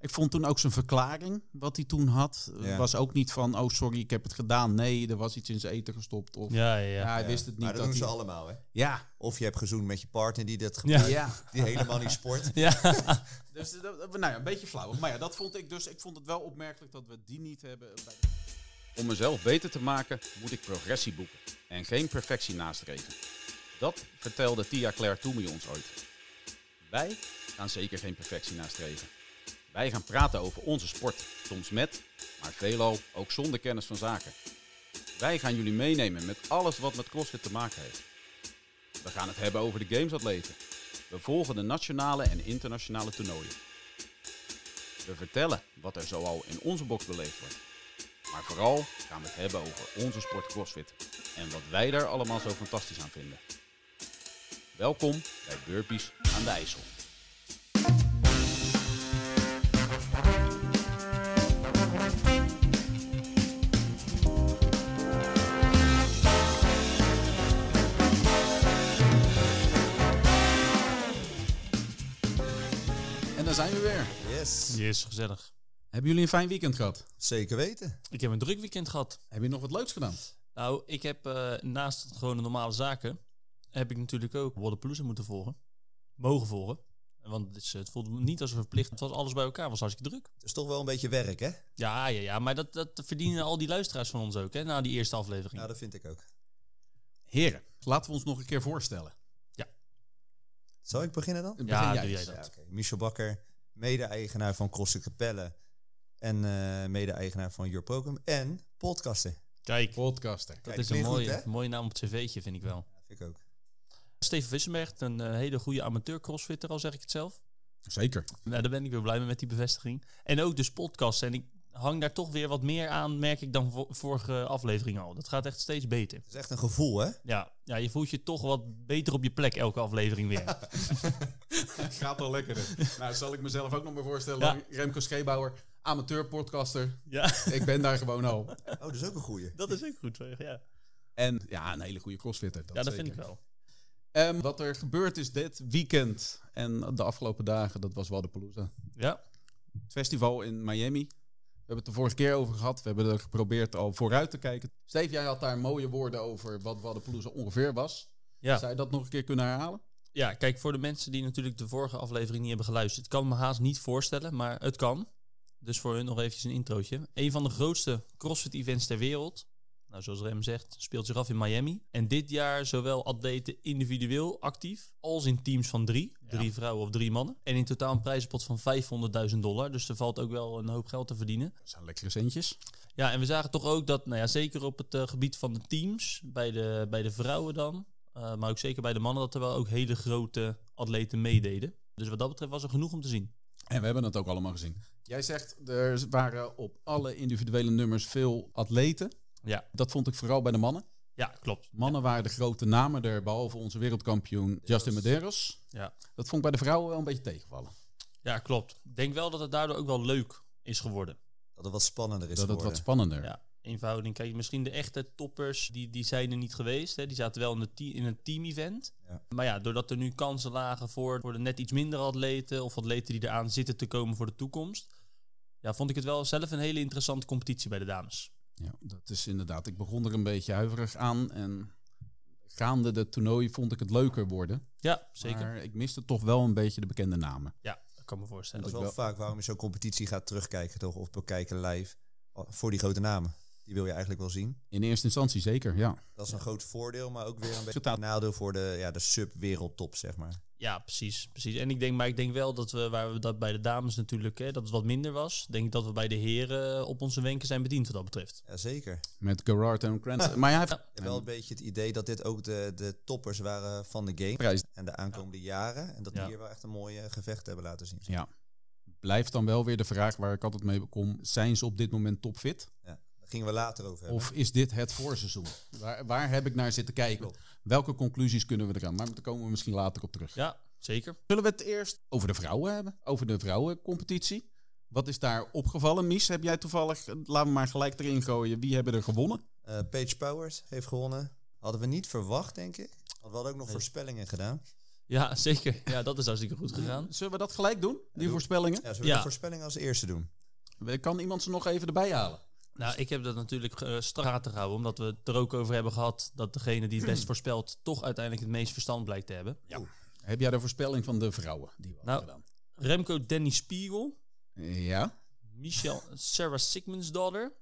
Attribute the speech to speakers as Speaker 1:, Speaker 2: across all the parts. Speaker 1: Ik vond toen ook zijn verklaring, wat hij toen had. eh,
Speaker 2: Ja.
Speaker 1: Was ook niet van, oh sorry, ik heb het gedaan. Nee, er was iets in zijn eten gestopt. Of, ja,
Speaker 3: Ja, ja, ja.
Speaker 1: hij
Speaker 2: Ja.
Speaker 1: wist het niet.
Speaker 2: Maar dat doen ze
Speaker 1: hij-
Speaker 2: allemaal, hè?
Speaker 1: Ja,
Speaker 2: Of je hebt gezoend met je partner die dat
Speaker 3: Ja.
Speaker 2: gebeurt,
Speaker 1: ja.
Speaker 2: die helemaal niet sport.
Speaker 3: Ja.
Speaker 1: Dus dat- dat- nou ja, een beetje flauw. Maar ja, dat vond ik dus. Ik vond het wel opmerkelijk dat we die niet hebben. eh, bij de- Om mezelf beter te maken moet ik progressie boeken en geen perfectie nastreven. Dat vertelde Tia Claire Toomey ons ooit. Wij gaan zeker geen perfectie nastreven. Wij gaan praten over onze sport, soms met, maar veelal ook zonder kennis van zaken. Wij gaan jullie meenemen met alles wat met CrossFit te maken heeft. We gaan het hebben over de gamesatleten. We volgen de nationale en internationale toernooien. We vertellen wat er zoal in onze box beleefd wordt. Maar vooral gaan we het hebben over onze sport CrossFit en wat wij daar allemaal zo fantastisch aan vinden. Welkom bij Burpees aan de IJssel. En daar zijn we weer.
Speaker 2: Yes,
Speaker 3: Die is gezellig.
Speaker 1: Hebben jullie een fijn weekend gehad?
Speaker 2: zeker weten.
Speaker 3: Ik heb een druk weekend gehad.
Speaker 1: Heb je nog wat leuks gedaan?
Speaker 3: Nou, ik heb eh, naast gewoon de normale zaken, heb ik natuurlijk ook Waterpalooza moeten volgen. Mogen volgen. Want het, is, het voelde me niet als een verplicht. Het was alles bij elkaar, was hartstikke druk.
Speaker 2: Het is toch wel een beetje werk, hè?
Speaker 3: Ja, ja, ja. Maar dat, dat verdienen al die luisteraars van ons ook, hè, na die eerste aflevering.
Speaker 2: Ja, dat vind ik ook.
Speaker 1: Heren, laten we ons nog een keer voorstellen.
Speaker 2: Zal ik beginnen dan?
Speaker 1: Begin
Speaker 3: Ja,
Speaker 1: jij
Speaker 3: doe
Speaker 1: eens.
Speaker 3: jij dat.
Speaker 2: Ja, oké. Michel Bakker, mede-eigenaar van CrossFit Capelle en eh, mede-eigenaar van Your Program en podcaster.
Speaker 3: Kijk,
Speaker 1: Podcaster.
Speaker 3: dat
Speaker 2: Kijk,
Speaker 3: is een
Speaker 2: klinkt goed,
Speaker 3: mooie,
Speaker 2: hè?
Speaker 3: mooie naam op het cv'tje, vind ik wel.
Speaker 2: Ja, vind ik ook.
Speaker 3: Steven Wissenberg, een eh, hele goede amateur crossfitter, al zeg ik het zelf.
Speaker 1: Zeker.
Speaker 3: Nou, daar ben ik weer blij mee met die bevestiging. En ook dus podcasts. En ik hang daar toch weer wat meer aan, merk ik, dan vo- vorige aflevering al. Dat gaat echt steeds beter.
Speaker 2: Het is echt een gevoel, hè?
Speaker 3: Ja, ja, je voelt je toch wat beter op je plek elke aflevering weer.
Speaker 1: Gaat al lekkerder. Nou, zal ik mezelf ook nog maar voorstellen.
Speaker 3: Ja.
Speaker 1: Remco Scheebouwer, amateur podcaster.
Speaker 3: ja,
Speaker 1: Ik ben daar gewoon al.
Speaker 2: Oh, dat is ook een goeie.
Speaker 3: dat is ook goed. zeg, Ja,
Speaker 1: En ja, een hele goede crossfitter. Dat
Speaker 3: ja dat
Speaker 1: zeker.
Speaker 3: vind ik wel.
Speaker 1: Ehm, wat er gebeurd is dit weekend en de afgelopen dagen, dat was Wadapalooza.
Speaker 3: Ja,
Speaker 1: Het festival in Miami. We hebben het de vorige keer over gehad. We hebben er geprobeerd al vooruit te kijken. Steve, jij had daar mooie woorden over wat Wadapalooza ongeveer was.
Speaker 3: ja.
Speaker 1: Zou je dat nog een keer kunnen herhalen?
Speaker 3: Ja, kijk, voor de mensen die natuurlijk de vorige aflevering niet hebben geluisterd, ik kan me haast niet voorstellen, maar het kan. Dus voor hun nog eventjes een introotje. Een van de grootste CrossFit-events ter wereld, nou, zoals Rem zegt, speelt zich af in Miami. En dit jaar zowel atleten individueel actief als in teams van drie. Drie vrouwen of drie mannen. En in totaal een prijzenpot van 500.000 dollar. Dus er valt ook wel een hoop geld te verdienen.
Speaker 1: Dat zijn lekkere centjes.
Speaker 3: Ja, en we zagen toch ook dat, nou ja, zeker op het eh, gebied van de teams, bij de, bij de vrouwen dan, eh, maar ook zeker bij de mannen, dat er wel ook hele grote atleten meededen. Dus wat dat betreft was er genoeg om te zien.
Speaker 1: En we hebben het ook allemaal gezien. Jij zegt, er waren op alle individuele nummers veel atleten.
Speaker 3: Ja.
Speaker 1: Dat vond ik vooral bij de mannen.
Speaker 3: Ja, klopt.
Speaker 1: Mannen waren de grote namen er, behalve onze wereldkampioen Justin Medeiros.
Speaker 3: Ja.
Speaker 1: Dat vond ik bij de vrouwen wel een beetje tegenvallen.
Speaker 3: Ja, klopt. Ik denk wel dat het daardoor ook wel leuk is geworden.
Speaker 2: Dat het wat spannender is
Speaker 1: Dat het wat
Speaker 2: geworden.
Speaker 1: spannender.
Speaker 3: Ja, in verhouding. Kijk, misschien de echte toppers, die, die zijn er niet geweest. Hè. Die zaten wel in, de te- in een team-event.
Speaker 2: Ja.
Speaker 3: Maar ja, doordat er nu kansen lagen voor, voor de net iets minder atleten... of atleten die eraan zitten te komen voor de toekomst... Ja, vond ik het wel zelf een hele interessante competitie bij de dames.
Speaker 1: Ja, dat is inderdaad. Ik begon er een beetje huiverig aan. En gaande de toernooi vond ik het leuker worden.
Speaker 3: Ja, zeker.
Speaker 1: Maar ik miste toch wel een beetje de bekende namen.
Speaker 3: Ja, dat kan me voorstellen.
Speaker 2: Dat is
Speaker 1: Ik
Speaker 2: wel,
Speaker 1: wel-
Speaker 2: vaak waarom je zo'n competitie gaat terugkijken, toch? Of bekijken live. Oh, Voor die grote namen. Die wil je eigenlijk wel zien.
Speaker 1: In eerste instantie zeker, ja.
Speaker 2: Dat is een groot voordeel, maar ook weer een beetje
Speaker 1: Totaal.
Speaker 2: een nadeel voor de, ja, de sub-wereldtop, zeg maar.
Speaker 3: Ja, precies, precies. En ik denk, maar ik denk wel dat we, waar we dat bij de dames natuurlijk, hè, dat het wat minder was. Denk ik dat we bij de heren op onze wenken zijn bediend wat dat betreft.
Speaker 2: Ja, zeker.
Speaker 1: Met Gerard en Grant. Maar hij heeft
Speaker 3: Ja.
Speaker 2: En wel een beetje het idee dat dit ook de, de toppers waren van de game.
Speaker 1: prijs.
Speaker 2: En de aankomende jaren. En dat die
Speaker 3: Ja.
Speaker 2: hier wel echt een mooie gevecht hebben laten zien.
Speaker 1: Ja. Blijft dan wel weer de vraag waar ik altijd mee kom. Zijn ze op dit moment topfit?
Speaker 2: Daar gingen we later over hebben.
Speaker 1: Of is dit het voorseizoen? Waar, waar heb ik naar zitten kijken? Welke conclusies kunnen we eraan? Maar daar komen we misschien later op terug.
Speaker 3: Ja, zeker.
Speaker 1: Zullen we het eerst over de vrouwen hebben? Over de vrouwencompetitie? Wat is daar opgevallen? Mies, heb jij toevallig, laten we maar gelijk erin gooien, wie hebben er gewonnen?
Speaker 2: Eh, Paige Powers heeft gewonnen. Hadden we niet verwacht, denk ik. Want we hadden ook nog voorspellingen gedaan.
Speaker 3: Ja, zeker. Ja, dat is hartstikke goed gegaan.
Speaker 1: Zullen we dat gelijk doen? Die
Speaker 2: doe.
Speaker 1: voorspellingen?
Speaker 2: Ja, zullen we
Speaker 3: Ja.
Speaker 2: de voorspelling als eerste doen?
Speaker 1: Kan iemand ze nog even erbij halen?
Speaker 3: Nou, ik heb dat natuurlijk eh strak te houden, omdat we het er ook over hebben gehad dat degene die het best voorspelt toch uiteindelijk het meest verstand blijkt te hebben.
Speaker 1: Heb jij de voorspelling van de vrouwen die we
Speaker 3: Nou.
Speaker 1: hadden
Speaker 3: Remco Danny Spiegel,
Speaker 1: gedaan? Ja.
Speaker 3: Michel Sarah Sigmund's daughter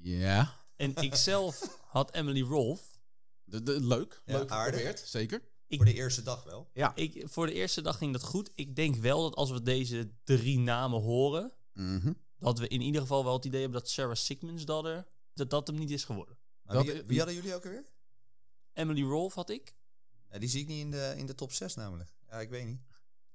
Speaker 1: Ja.
Speaker 3: en ikzelf had Emily Rolf.
Speaker 1: De, de, leuk.
Speaker 2: Ja,
Speaker 1: leuk
Speaker 2: aardig.
Speaker 1: geprobeerd. Zeker.
Speaker 3: Ik-
Speaker 2: Voor de eerste dag wel.
Speaker 3: Ik, voor de eerste dag ging dat goed. Ik denk wel dat als we deze drie namen horen,
Speaker 1: Mhm.
Speaker 3: dat we in ieder geval wel het idee hebben dat Sarah Sigmund's daughter, dat dat hem niet is geworden.
Speaker 2: Maar
Speaker 1: Dat-
Speaker 2: wie, wie hadden jullie ook alweer?
Speaker 3: Emily Rolf had ik.
Speaker 2: Ja, die zie ik niet in de, in de top 6 namelijk. Ja, ik weet niet.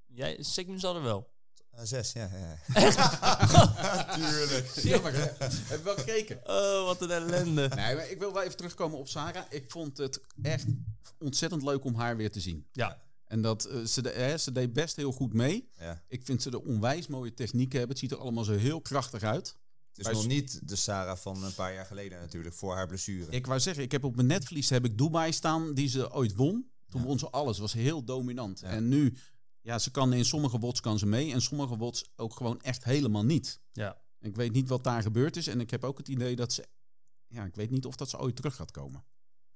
Speaker 3: Jij, Sigmund's daughter wel.
Speaker 2: Eh, Zes, ja. ja, ja.
Speaker 1: Tuurlijk. Jammer, hè? Hebben we wel gekeken.
Speaker 3: Oh, wat een ellende.
Speaker 1: Nee, maar ik wil wel even terugkomen op Sarah. Ik vond het echt ontzettend leuk om haar weer te zien.
Speaker 3: Ja.
Speaker 1: En dat eh, ze, de, hè, ze deed best heel goed mee.
Speaker 2: Ja.
Speaker 1: Ik vind ze de onwijs mooie technieken hebben. Het ziet er allemaal zo heel krachtig uit.
Speaker 2: Het is
Speaker 1: Maar
Speaker 2: nog
Speaker 1: s-
Speaker 2: niet de Sarah van een paar jaar geleden natuurlijk, voor haar blessure.
Speaker 1: Ik wou zeggen, ik heb op mijn netvlies heb ik Dubai staan die ze ooit won. Toen won ze alles, was heel dominant. En nu, ja, ze kan in sommige wots kan ze mee en sommige wots ook gewoon echt helemaal niet.
Speaker 3: Ja.
Speaker 1: Ik weet niet wat daar gebeurd is en ik heb ook het idee dat ze, ja, ik weet niet of dat ze ooit terug gaat komen.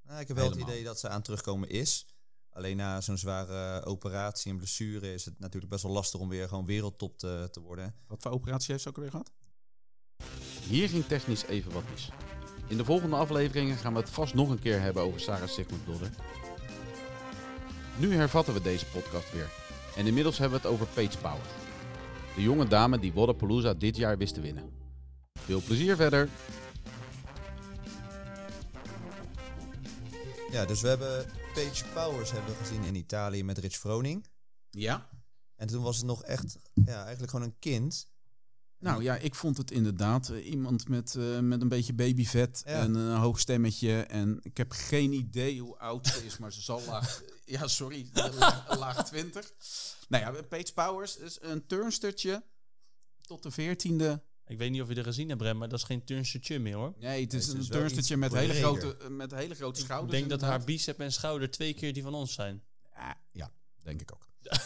Speaker 2: Nou, ik heb wel
Speaker 1: Helemaal.
Speaker 2: het idee dat ze aan terugkomen is. Alleen na zo'n zware eh, operatie en blessure is het natuurlijk best wel lastig om weer gewoon wereldtop te, te worden.
Speaker 1: Wat voor operatie heeft ze ook weer gehad? Hier ging technisch even wat mis. In de volgende afleveringen gaan we het vast nog een keer hebben over Sarah Sigmund Dodder. Nu hervatten we deze podcast weer. En inmiddels hebben we het over Paige Power. De jonge dame die Wodapalooza dit jaar wist te winnen. Veel plezier verder!
Speaker 2: Ja, dus we hebben Paige Powers hebben we gezien in Italië met Rich Froning.
Speaker 1: Ja?
Speaker 2: En toen was het nog echt, ja, eigenlijk gewoon een kind.
Speaker 1: Nou ja, ik vond het inderdaad eh, iemand met, eh, met een beetje babyvet
Speaker 2: Ja.
Speaker 1: en een hoog stemmetje. En ik heb geen idee hoe oud ze is, maar ze zal laag... Ja, sorry, laag, laag 20. Nou ja, Paige Powers is een turnstertje tot de veertiende.
Speaker 3: Ik weet niet of je er gezien hebt, Rem, maar dat is geen turnstertje meer hoor.
Speaker 1: Nee, het is
Speaker 2: het
Speaker 1: een
Speaker 2: is wel
Speaker 1: turnstertje
Speaker 2: iets
Speaker 1: met hele,
Speaker 2: breder.
Speaker 1: grote, eh, met hele grote
Speaker 3: Ik
Speaker 1: schouders.
Speaker 3: denk dat haar
Speaker 1: inderdaad.
Speaker 3: bicep en schouder twee keer die van ons zijn.
Speaker 1: Ah, ja, denk ik ook.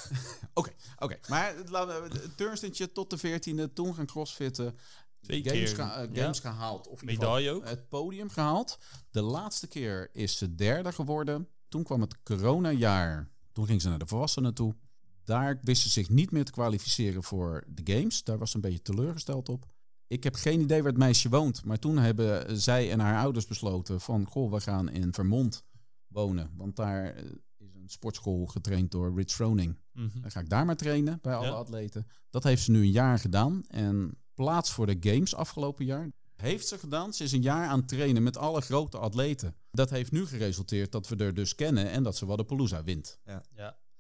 Speaker 1: Oké, oké. Maar laten we- het turnstertje tot de veertiende, toen gaan crossfitten.
Speaker 3: Twee
Speaker 1: games
Speaker 3: keer,
Speaker 1: geha- eh,
Speaker 3: ja.
Speaker 1: games gehaald. Of in ieder geval
Speaker 3: Medaille ook.
Speaker 1: het podium gehaald. De laatste keer is ze derde geworden. Toen kwam het coronajaar. Toen ging ze naar de volwassenen toe. Daar wist ze zich niet meer te kwalificeren voor de games. Daar was ze een beetje teleurgesteld op. Ik heb geen idee waar het meisje woont. Maar toen hebben zij en haar ouders besloten van... Goh, we gaan in Vermont wonen. Want daar eh, is een sportschool getraind door Rich Froning.
Speaker 3: Mhm.
Speaker 1: Dan ga ik daar maar trainen bij alle
Speaker 3: Ja.
Speaker 1: atleten. Dat heeft ze nu een jaar gedaan. En plaats voor de Games afgelopen jaar heeft ze gedaan. Ze is een jaar aan het trainen met alle grote atleten. Dat heeft nu geresulteerd dat we er dus kennen en dat ze Wadapalooza wint.
Speaker 3: Ja.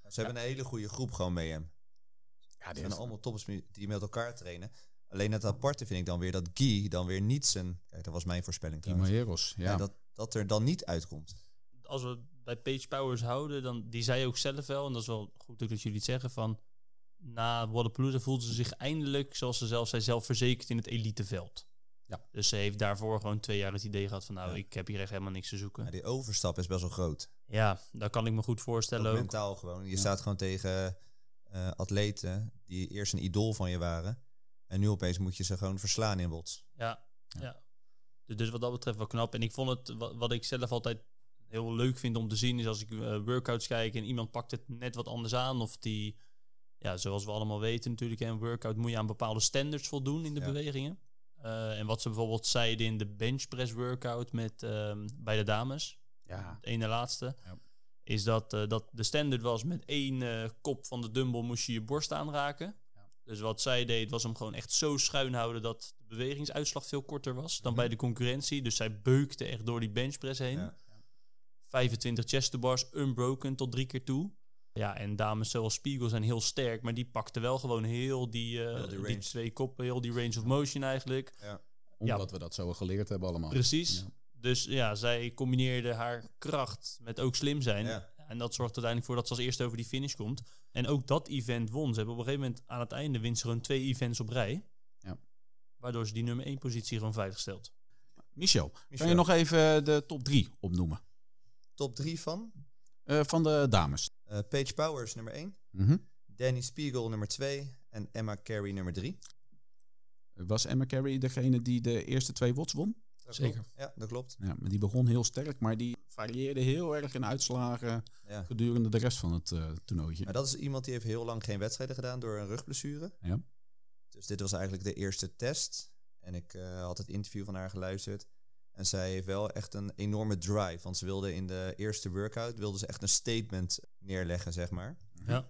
Speaker 2: Ze hebben een hele goede groep gewoon mee hem.
Speaker 1: Ja,
Speaker 2: Het zijn allemaal toppers mi- die met elkaar trainen. Alleen het aparte vind ik dan weer dat Guy dan weer niet zijn... Kijk, dat was mijn voorspelling trouwens.
Speaker 1: Heros. Ja.
Speaker 2: Ja, dat, dat er dan niet uitkomt.
Speaker 3: Als we bij Page Powers houden, dan die zei ook zelf wel, en dat is wel goed ook dat jullie het zeggen, van na Wadapalooza voelde ze zich eindelijk, zoals ze zelf zei, zelfverzekerd in het eliteveld.
Speaker 1: Ja.
Speaker 3: Dus ze heeft daarvoor gewoon twee jaar het idee gehad van nou,
Speaker 2: Ja.
Speaker 3: ik heb hier echt helemaal niks te
Speaker 2: Maar
Speaker 3: zoeken.
Speaker 2: die overstap is best wel groot.
Speaker 3: Ja, daar kan ik me goed voorstellen
Speaker 2: Ook
Speaker 3: ook.
Speaker 2: mentaal gewoon. Je staat gewoon tegen eh, atleten die eerst een idool van je waren. En nu opeens moet je ze gewoon verslaan in bots.
Speaker 3: Ja, ja. Dus- Dus wat dat betreft wel knap. En ik vond het, wa- wat ik zelf altijd heel leuk vind om te zien, is als ik eh, workouts kijk en iemand pakt het net wat anders aan. Of die, ja, zoals we allemaal weten natuurlijk, hè, een workout moet je aan bepaalde standards voldoen in de
Speaker 2: Ja.
Speaker 3: bewegingen. Eh, en wat ze bijvoorbeeld zeiden in de bench press workout met, ehm, bij de dames,
Speaker 1: ja.
Speaker 3: de ene laatste,
Speaker 1: Ja.
Speaker 3: is dat, eh, dat de standaard was met één eh, kop van de dumbbell moest je je borst aanraken. Dus wat zij deed was hem gewoon echt zo schuin houden dat de bewegingsuitslag veel korter was dan bij de concurrentie. Dus zij beukte echt door die benchpress heen.
Speaker 2: Mhm. Ja.
Speaker 3: 25 chest to bars, unbroken tot drie keer toe. Ja, en dames zoals Spiegel zijn heel sterk, maar die pakte wel gewoon heel die, eh,
Speaker 2: Heel die
Speaker 3: die,
Speaker 2: range.
Speaker 3: twee koppen, heel die range of motion eigenlijk.
Speaker 1: Omdat we dat zo geleerd hebben allemaal.
Speaker 3: Precies.
Speaker 1: Ja.
Speaker 3: Dus ja, zij combineerde haar kracht met ook slim zijn.
Speaker 2: Ja.
Speaker 3: En dat zorgt uiteindelijk voor dat ze als eerste over die finish komt. En ook dat event won. Ze hebben op een gegeven moment aan het einde wint ze gewoon twee events op rij.
Speaker 1: Ja.
Speaker 3: Waardoor ze die nummer één positie gewoon veilig stelt.
Speaker 1: Michel, kan
Speaker 2: Michel.
Speaker 1: je nog even de top drie opnoemen?
Speaker 2: Top 3 van?
Speaker 1: eh, van de dames.
Speaker 2: Eh, Paige Powers nummer 1.
Speaker 1: Mhm.
Speaker 2: Danny Spiegel nummer 2. En Emma Carey nummer 3.
Speaker 1: Was Emma Carey degene die de eerste twee wots won?
Speaker 3: Zeker.
Speaker 2: Ja, dat klopt.
Speaker 1: Ja, maar die begon heel sterk, maar die varieerde heel erg in uitslagen
Speaker 2: Ja.
Speaker 1: gedurende de rest van het eh toernooitje.
Speaker 2: Maar dat is iemand die heeft heel lang geen wedstrijden gedaan door een rugblessure.
Speaker 1: Ja.
Speaker 2: Dus dit was eigenlijk de eerste test. En ik eh, had het interview van haar geluisterd. En zij heeft wel echt een enorme drive. Want ze wilde in de eerste workout wilde ze echt een statement neerleggen, zeg maar.
Speaker 3: Ja.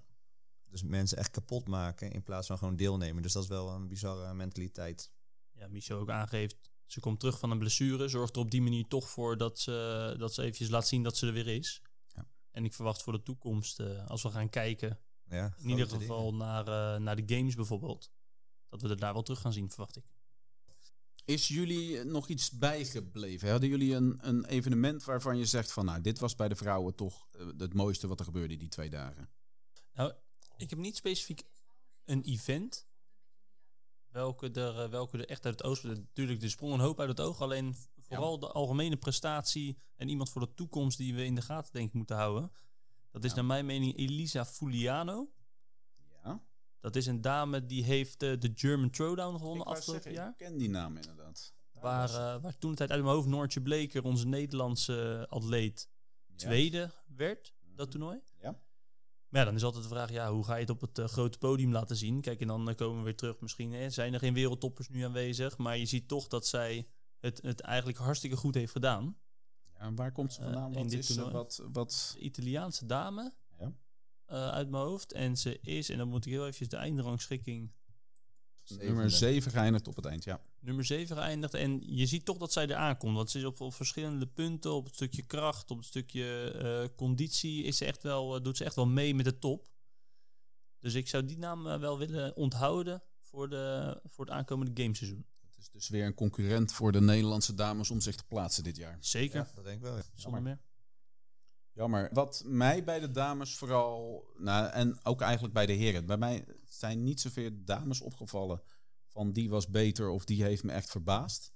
Speaker 2: Dus mensen echt kapot maken in plaats van gewoon deelnemen. Dus dat is wel een bizarre mentaliteit.
Speaker 3: ja, Michel ook aangeeft, ze komt terug van een blessure, zorgt er op die manier toch voor dat ze, dat ze eventjes laat zien dat ze er weer is.
Speaker 1: Ja.
Speaker 3: En ik verwacht voor de toekomst, eh, als we gaan kijken,
Speaker 2: Ja,
Speaker 3: in ieder
Speaker 2: grote
Speaker 3: geval naar, eh, naar de games bijvoorbeeld, dat we er daar wel terug gaan zien, verwacht ik.
Speaker 1: Is jullie nog iets bijgebleven? Hadden jullie een, een evenement waarvan je zegt van nou, dit was bij de vrouwen toch eh, het mooiste wat er gebeurde die twee dagen?
Speaker 3: Nou, ik heb niet specifiek een event. Welke er, eh, welke er echt uit het oosten. Natuurlijk, er sprong een hoop uit het oog. Alleen vooral de algemene prestatie. En iemand voor de toekomst die we in de gaten, denk ik, moeten houden. Dat is
Speaker 1: Ja.
Speaker 3: naar mijn mening Elisa Fuliano.
Speaker 1: Ja.
Speaker 3: Dat is een dame die heeft eh, de German Throwdown
Speaker 1: Ik
Speaker 3: gewonnen
Speaker 1: wou
Speaker 3: afgelopen
Speaker 1: zeggen,
Speaker 3: jaar.
Speaker 1: Ik ken die naam inderdaad.
Speaker 3: Waar, eh, waar toen de tijd uit mijn hoofd Noortje Bleker, onze Nederlandse eh, atleet,
Speaker 1: Ja. Mhm.
Speaker 3: tweede werd. Dat toernooi.
Speaker 1: Ja.
Speaker 3: Maar ja, dan is altijd de vraag, ja, hoe ga je het op het eh, grote podium laten zien? Kijk, en dan eh, komen we weer terug. Misschien hè, zijn er geen wereldtoppers nu aanwezig. Maar je ziet toch dat zij het, het eigenlijk hartstikke goed heeft gedaan.
Speaker 1: Ja, waar komt ze vandaan?
Speaker 3: Eh, in
Speaker 1: wat
Speaker 3: dit
Speaker 1: is ze?
Speaker 3: toernooi.
Speaker 1: Wat, wat...
Speaker 3: De Italiaanse dame
Speaker 1: Ja.
Speaker 3: eh, uit mijn hoofd. En ze is, en dan moet ik heel even de eindrangschikking,
Speaker 1: Nummer 7 geëindigd op het eind, ja.
Speaker 3: nummer 7 geëindigd. En je ziet toch dat zij er aankomt. Want ze is op, op verschillende punten, op het stukje kracht, op het stukje eh, conditie, is ze echt wel, eh, doet ze echt wel mee met de top. Dus ik zou die naam eh, wel willen onthouden voor, de, voor het aankomende gameseizoen.
Speaker 1: Het is dus weer een concurrent voor de Nederlandse dames om zich te plaatsen dit jaar.
Speaker 3: Zeker,
Speaker 2: Ja, dat denk ik wel. ja.
Speaker 3: zonder meer.
Speaker 1: Jammer. Wat mij bij de dames vooral, nou, en ook eigenlijk bij de heren, bij mij zijn niet zoveel dames opgevallen van die was beter of die heeft me echt verbaasd.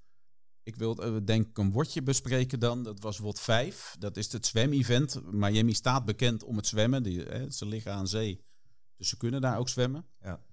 Speaker 1: Ik wil eh, denk ik een wotje bespreken dan. Dat was wot 5. Dat is het zwemevent. Miami staat bekend om het zwemmen. Die, hè, ze liggen aan zee, dus ze kunnen daar ook zwemmen.
Speaker 2: Ja.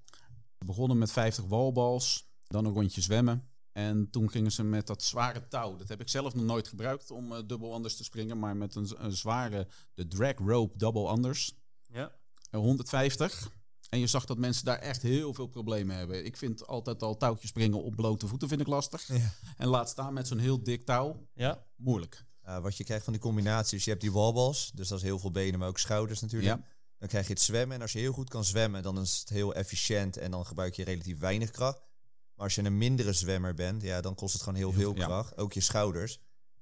Speaker 1: Ze begonnen met 50 walbals, dan een rondje zwemmen. En toen gingen ze met dat zware touw. Dat heb ik zelf nog nooit gebruikt om eh, dubbel anders te springen. Maar met een, z- een zware, de drag rope double anders.
Speaker 3: Ja.
Speaker 1: eh, 150. En je zag dat mensen daar echt heel veel problemen hebben. Ik vind altijd al touwtjes springen op blote voeten vind ik lastig.
Speaker 2: Ja.
Speaker 1: En laat staan met zo'n heel dik touw,
Speaker 3: Ja,
Speaker 1: moeilijk.
Speaker 2: Eh, wat je krijgt van die combinaties, je hebt die wallballs, dus dat is heel veel benen, maar ook schouders natuurlijk.
Speaker 1: Ja.
Speaker 2: Dan krijg je het zwemmen en als je heel goed kan zwemmen, dan is het heel efficiënt en dan gebruik je relatief weinig kracht. Maar als je een mindere zwemmer bent, ja, dan kost het gewoon heel,
Speaker 1: Heel
Speaker 2: veel
Speaker 1: veel, ja.
Speaker 2: kracht, ook je schouders.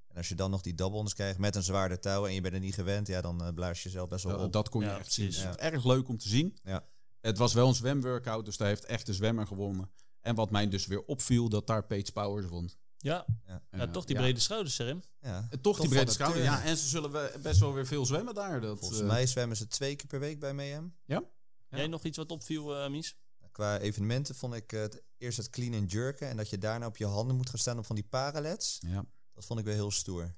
Speaker 2: En als je dan nog die doubles krijgt met een zwaarder touw en je bent er niet gewend, ja, dan eh, blaas je jezelf best wel
Speaker 1: Dat,
Speaker 2: op.
Speaker 1: dat kon je
Speaker 3: Ja,
Speaker 1: echt zien.
Speaker 3: precies.
Speaker 1: Dus het is Erg leuk om te zien.
Speaker 2: Ja.
Speaker 1: Het was wel een zwemworkout, dus daar heeft echt de zwemmer gewonnen. En wat mij dus weer opviel, dat daar Paige Powers won.
Speaker 3: ja.
Speaker 1: En,
Speaker 3: ja
Speaker 1: eh,
Speaker 3: toch die brede schouders, Serim.
Speaker 2: Ja.
Speaker 1: Eh, Toch die brede
Speaker 2: van de
Speaker 1: schouder.
Speaker 2: turner.
Speaker 1: Ja, en ze zullen we best wel weer veel zwemmen daar. Dat,
Speaker 2: Volgens
Speaker 1: eh,
Speaker 2: mij zwemmen ze twee keer per week bij E MEM.
Speaker 1: Ja.
Speaker 3: Jij nog iets wat opviel, eh, Mies?
Speaker 2: Qua evenementen vond ik eh, het, eerst het clean and jerken en dat je daarna op je handen moet gaan staan op van die paralets.
Speaker 1: Ja.
Speaker 2: Dat vond ik wel heel stoer.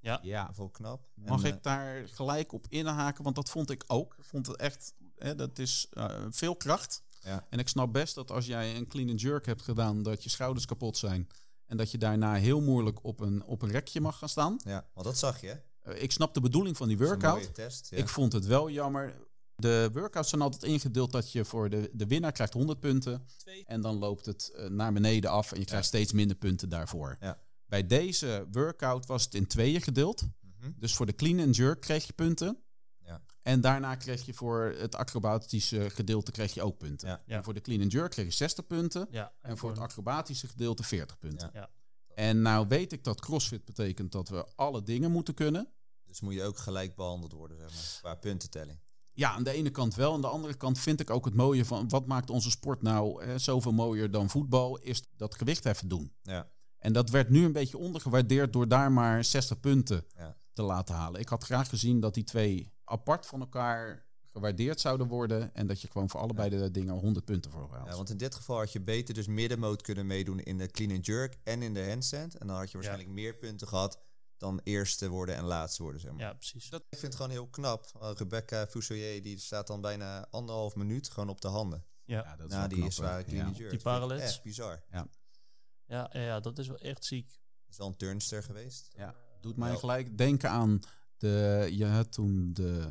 Speaker 1: ja.
Speaker 2: Dat vond ik knap.
Speaker 1: Mag
Speaker 2: En, eh,
Speaker 1: ik daar gelijk op inhaken? Want dat vond ik ook. Ik vond het echt, hè, dat is eh, veel kracht.
Speaker 2: Ja.
Speaker 1: En ik snap best dat als jij een clean and jerk hebt gedaan, dat je schouders kapot zijn. En dat je daarna heel moeilijk op een, op een rekje mag gaan staan.
Speaker 2: Ja, want dat zag je. hè? Dat
Speaker 1: Eh, ik snap de bedoeling van die
Speaker 2: is een
Speaker 1: workout.
Speaker 2: mooie test. Ja.
Speaker 1: Ik vond het wel jammer. De workouts zijn altijd ingedeeld dat je voor de, de winnaar krijgt 100 punten.
Speaker 3: Twee.
Speaker 1: En dan loopt het eh, naar beneden af en je krijgt steeds minder punten daarvoor.
Speaker 2: Ja.
Speaker 1: Bij deze workout was het in tweeën gedeeld.
Speaker 2: Mhm.
Speaker 1: Dus voor de clean and jerk kreeg je punten.
Speaker 2: Ja.
Speaker 1: En daarna kreeg je voor het acrobatische gedeelte kreeg je ook punten.
Speaker 2: Ja.
Speaker 3: Ja.
Speaker 1: En voor de clean and jerk kreeg je 60 punten.
Speaker 3: Ja.
Speaker 1: En voor het acrobatische gedeelte 40 punten.
Speaker 3: Ja. Ja.
Speaker 1: En nou weet ik dat CrossFit betekent dat we alle dingen moeten kunnen.
Speaker 2: Dus moet je ook gelijk behandeld worden, zeg maar. Qua puntentelling.
Speaker 1: Ja, aan de ene kant wel. Aan de andere kant vind ik ook het mooie van wat maakt onze sport nou hè, zoveel mooier dan voetbal, is dat gewicht even doen.
Speaker 2: Ja.
Speaker 1: En dat werd nu een beetje ondergewaardeerd door daar maar 60 punten
Speaker 2: Ja.
Speaker 1: te laten halen. Ik had graag gezien dat die twee apart van elkaar gewaardeerd zouden worden en dat je gewoon voor allebei de dingen 100 punten voor haalt.
Speaker 2: ja, want in dit geval had je beter dus middenmoot kunnen meedoen in de clean and jerk en in de handstand. En dan had je waarschijnlijk meer punten gehad dan eerste worden en laatste worden, zeg maar.
Speaker 3: Ja, precies.
Speaker 2: Ik vind het gewoon heel knap. Uh, Rebecca Fuselier, die staat dan bijna anderhalf minuut gewoon op de handen.
Speaker 3: Ja.
Speaker 1: dat
Speaker 2: Na
Speaker 1: wel
Speaker 2: die
Speaker 1: knap,
Speaker 2: is zware
Speaker 1: hoor.
Speaker 2: clean
Speaker 1: Ja.
Speaker 2: jerk.
Speaker 3: Die
Speaker 2: Vind ik
Speaker 3: parallels.
Speaker 2: Echt bizar.
Speaker 3: Ja, ja, ja, dat is wel echt ziek.
Speaker 2: Is wel een turnster geweest.
Speaker 1: Ja. Doet mij
Speaker 2: Ja.
Speaker 1: gelijk denken aan de... Je had toen de...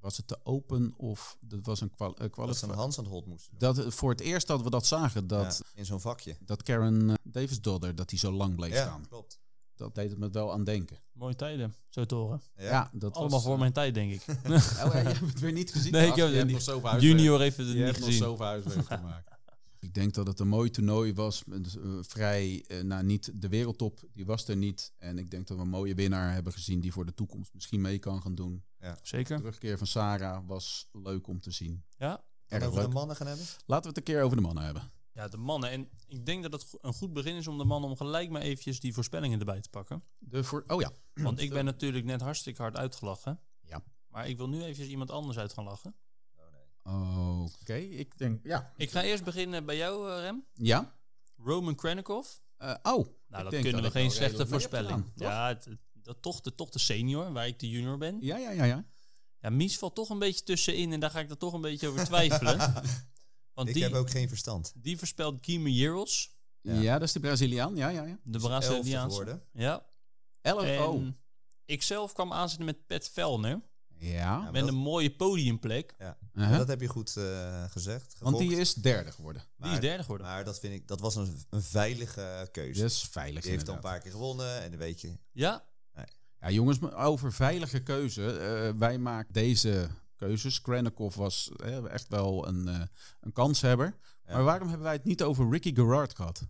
Speaker 1: Was het de Open of... Dat was een kwal, eh,
Speaker 2: Dat ze
Speaker 1: kwalifi-
Speaker 2: een Hans aan het hold moesten doen.
Speaker 1: dat, eh, voor het eerst dat we dat zagen, dat,
Speaker 2: Ja, in zo'n vakje.
Speaker 1: dat Karen eh, Davis-Dodder, dat die zo lang bleef
Speaker 2: Ja,
Speaker 1: staan.
Speaker 2: klopt.
Speaker 1: Dat deed het me wel aan denken.
Speaker 3: Mooie tijden, zo te horen.
Speaker 1: Ja, dat
Speaker 3: Allemaal
Speaker 1: was,
Speaker 3: voor
Speaker 1: eh,
Speaker 3: mijn tijd, denk ik.
Speaker 1: Oh, ja, je hebt het weer niet gezien.
Speaker 3: Nee, ik
Speaker 1: Bas.
Speaker 3: heb
Speaker 1: je
Speaker 3: het
Speaker 1: hebt
Speaker 3: niet.
Speaker 1: nog zoveel huiswerk.
Speaker 3: Junior heeft het
Speaker 1: je
Speaker 3: niet
Speaker 1: hebt nog
Speaker 3: gezien.
Speaker 1: zoveel huiswerk te maken. Ik denk dat het een mooi toernooi was. met, eh, vrij, eh, nou niet de wereldtop, die was er niet. En ik denk dat we een mooie winnaar hebben gezien die voor de toekomst misschien mee kan gaan doen. De
Speaker 3: Zeker.
Speaker 1: terugkeer van Sarah was leuk om te zien.
Speaker 3: Ja.
Speaker 2: En
Speaker 1: Erg
Speaker 2: over de
Speaker 1: leuk.
Speaker 2: mannen gaan hebben?
Speaker 1: Laten we het een keer over de mannen hebben.
Speaker 3: Ja, de mannen. En ik denk dat het go- een goed begin is om de mannen om gelijk maar eventjes die voorspellingen erbij te pakken.
Speaker 1: De voor oh ja,
Speaker 3: Want ik ben natuurlijk net hartstikke hard uitgelachen.
Speaker 1: Ja.
Speaker 3: Maar ik wil nu eventjes iemand anders uit gaan lachen.
Speaker 1: oké. Ik denk, ja.
Speaker 3: Ik ga eerst beginnen bij jou, eh, Rem.
Speaker 1: Ja?
Speaker 3: Roman Krennikov.
Speaker 1: Eh, oh.
Speaker 3: Nou,
Speaker 1: Ik
Speaker 3: dat
Speaker 1: denk
Speaker 3: kunnen we
Speaker 1: ik
Speaker 3: geen
Speaker 1: wel
Speaker 3: slechte
Speaker 1: redelijk mee heb
Speaker 3: voorspelling.
Speaker 1: gedaan, toch?
Speaker 3: Ja, het- het- dat toch, de, toch de senior, waar ik de junior ben.
Speaker 1: Ja, ja, ja, ja.
Speaker 3: Ja, Mies valt toch een beetje tussenin en daar ga ik dan toch een beetje over twijfelen. Want
Speaker 2: Ik
Speaker 3: die,
Speaker 2: heb ook geen verstand.
Speaker 3: die voorspelt Guy Yeros,
Speaker 1: Ja, dat is de Braziliaan. Ja, ja, ja.
Speaker 3: de
Speaker 2: Elfde
Speaker 3: Braziliaanse.
Speaker 2: geworden.
Speaker 3: Ja,
Speaker 1: LFO.
Speaker 3: en ikzelf kwam aanzetten met Pat Velner.
Speaker 1: Ja.
Speaker 2: Ja,
Speaker 3: Met
Speaker 2: dat-
Speaker 3: een mooie podiumplek.
Speaker 1: Uh-huh.
Speaker 2: Dat heb je goed eh, gezegd.
Speaker 1: Want die
Speaker 2: gevolgd.
Speaker 1: is derde geworden. Nou,
Speaker 3: Die is
Speaker 2: Maar-
Speaker 3: derde geworden.
Speaker 2: Maar dat vind ik, dat was een, een veilige keuze.
Speaker 1: Dat is veilig.
Speaker 2: die heeft al een
Speaker 1: inderdaad.
Speaker 2: paar keer gewonnen en dan weet je.
Speaker 3: Ja,
Speaker 1: Ja, jongens, maar over veilige keuze. eh, wij maken deze keuzes. Krennikov was eh, echt wel een, eh, een kanshebber.
Speaker 2: Ja.
Speaker 1: Maar waarom hebben wij het niet over Ricky Gerard gehad?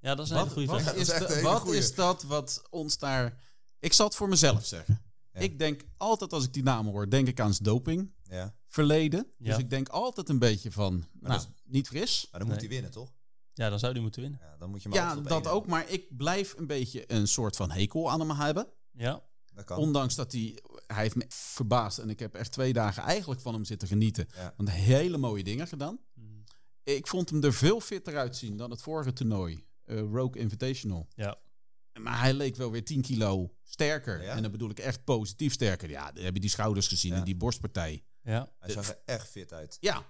Speaker 3: ja dat is een
Speaker 1: Wat,
Speaker 3: hele goede
Speaker 1: wat
Speaker 3: vraag.
Speaker 1: is,
Speaker 2: Dat is echt
Speaker 1: de-
Speaker 2: een hele
Speaker 1: wat
Speaker 2: goeie.
Speaker 1: is dat wat ons daar... Ik zal het voor mezelf zeggen.
Speaker 2: Ja.
Speaker 1: Ik denk altijd als ik die namen hoor, denk ik aan zijn doping.
Speaker 2: Ja.
Speaker 1: Verleden.
Speaker 3: Ja.
Speaker 1: Dus ik denk altijd een beetje van, nou,
Speaker 2: dat is-
Speaker 1: niet fris.
Speaker 2: Maar dan moet
Speaker 3: Nee.
Speaker 2: hij winnen, toch?
Speaker 3: Ja, dan zou die moeten winnen.
Speaker 2: Ja, dan moet je hem
Speaker 1: Ja,
Speaker 2: altijd op
Speaker 1: dat
Speaker 2: één
Speaker 1: ook. Maar ik blijf een beetje een soort van hekel aan hem hebben.
Speaker 3: Ja,
Speaker 2: hebben. Dat kan.
Speaker 1: Ondanks dat hij, hij heeft me verbaasd en ik heb echt twee dagen eigenlijk van hem zitten genieten.
Speaker 2: Ja.
Speaker 1: Want hele mooie dingen gedaan. Ik vond hem er veel fitter uitzien dan het vorige toernooi, eh Rogue Invitational.
Speaker 3: Ja.
Speaker 1: Maar hij leek wel weer 10 kilo sterker.
Speaker 2: Ja?
Speaker 1: En dan bedoel ik echt positief sterker. Ja, dan heb je die schouders gezien
Speaker 2: Ja.
Speaker 1: en die borstpartij.
Speaker 3: ja.
Speaker 2: Hij zag er echt fit uit.
Speaker 1: Ja.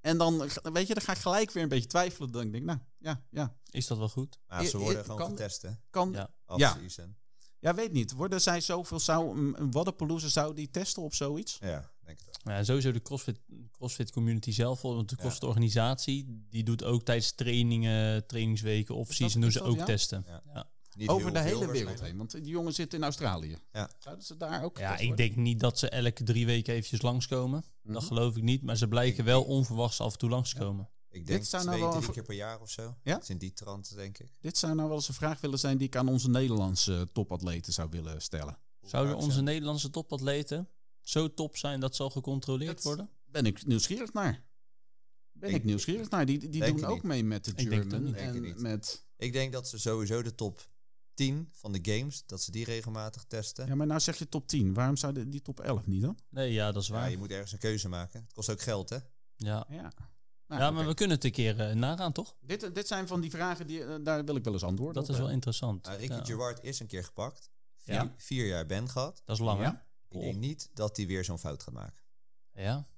Speaker 1: En dan, g- weet je, dan ga ik gelijk weer een beetje twijfelen. Dan denk ik, nou, ja, ja.
Speaker 3: Is dat wel goed?
Speaker 2: Maar ze
Speaker 1: I- i-
Speaker 2: worden gewoon
Speaker 1: kan-
Speaker 2: getest, hè?
Speaker 1: Kan, ja.
Speaker 3: Ja.
Speaker 1: Ja.
Speaker 2: Off-season.
Speaker 1: weet niet. Worden zij zoveel, zou een, een Waddenpalooza, zou die testen op zoiets?
Speaker 2: Ja, denk ik wel.
Speaker 3: Nou Ja, sowieso de CrossFit, CrossFit community zelf, want de
Speaker 2: Ja.
Speaker 3: CrossFit organisatie, die doet ook tijdens trainingen, trainingsweken of
Speaker 1: dat-
Speaker 3: season doen
Speaker 1: is
Speaker 3: ze
Speaker 1: dat,
Speaker 3: ook
Speaker 1: ja?
Speaker 3: testen.
Speaker 2: Ja.
Speaker 3: Ja, ja.
Speaker 2: Niet
Speaker 1: Over
Speaker 2: heel
Speaker 1: de
Speaker 2: veel
Speaker 1: hele wereld
Speaker 2: waarschijnlijk.
Speaker 1: heen. Want die jongen zit in Australië.
Speaker 2: Ja.
Speaker 1: Zouden ze daar ook... getest
Speaker 3: ik
Speaker 1: worden?
Speaker 3: denk niet dat ze elke drie weken eventjes langskomen.
Speaker 1: Mhm.
Speaker 3: Dat geloof ik niet, maar ze blijken wel onverwachts af en toe langskomen.
Speaker 2: Ik denk
Speaker 1: Dit zou
Speaker 2: twee,
Speaker 1: nou wel
Speaker 2: drie
Speaker 1: een-
Speaker 2: keer per jaar of zo.
Speaker 1: Ja?
Speaker 2: Het is in die trant, denk ik.
Speaker 1: Dit zou nou wel eens een vraag willen zijn die ik aan onze Nederlandse eh, topatleten zou willen stellen.
Speaker 2: Hoe
Speaker 3: Zouden
Speaker 2: vaak
Speaker 3: onze
Speaker 2: zijn-
Speaker 3: Nederlandse topatleten zo top zijn dat ze al gecontroleerd
Speaker 1: Dat-
Speaker 3: worden?
Speaker 1: Ben ik nieuwsgierig naar. Ben ik,
Speaker 2: Ik-
Speaker 1: nieuwsgierig naar. Die, die
Speaker 2: Denk
Speaker 1: doen
Speaker 2: het
Speaker 1: ook
Speaker 2: niet.
Speaker 1: mee met de
Speaker 3: denk het ook
Speaker 1: German
Speaker 3: niet.
Speaker 2: Denk het
Speaker 1: en
Speaker 2: niet.
Speaker 1: met...
Speaker 2: Ik denk dat ze sowieso de top 10 van de games, dat ze die regelmatig testen.
Speaker 1: Ja, maar nou zeg je top 10. Waarom zou de- die top 11 niet dan?
Speaker 3: Nee, ja, dat is
Speaker 2: Ja,
Speaker 3: waar.
Speaker 2: je moet ergens een keuze maken. Het kost ook geld, hè?
Speaker 3: Ja,
Speaker 1: Ja, nou,
Speaker 3: ja
Speaker 1: oké.
Speaker 3: maar we kunnen het een keer eh, nagaan, toch?
Speaker 1: dit, dit zijn van die vragen, die, eh, daar wil ik wel eens antwoorden
Speaker 3: Dat
Speaker 1: op
Speaker 3: is wel
Speaker 1: hebben.
Speaker 3: interessant.
Speaker 2: Nou, Ricky
Speaker 3: Ja.
Speaker 2: Gerard is een keer gepakt. Vier,
Speaker 3: Ja.
Speaker 2: vier jaar ben gehad.
Speaker 3: Dat is lang,
Speaker 1: Ja.
Speaker 2: Ik denk niet dat hij weer zo'n fout gaat maken.
Speaker 3: hè? Ja.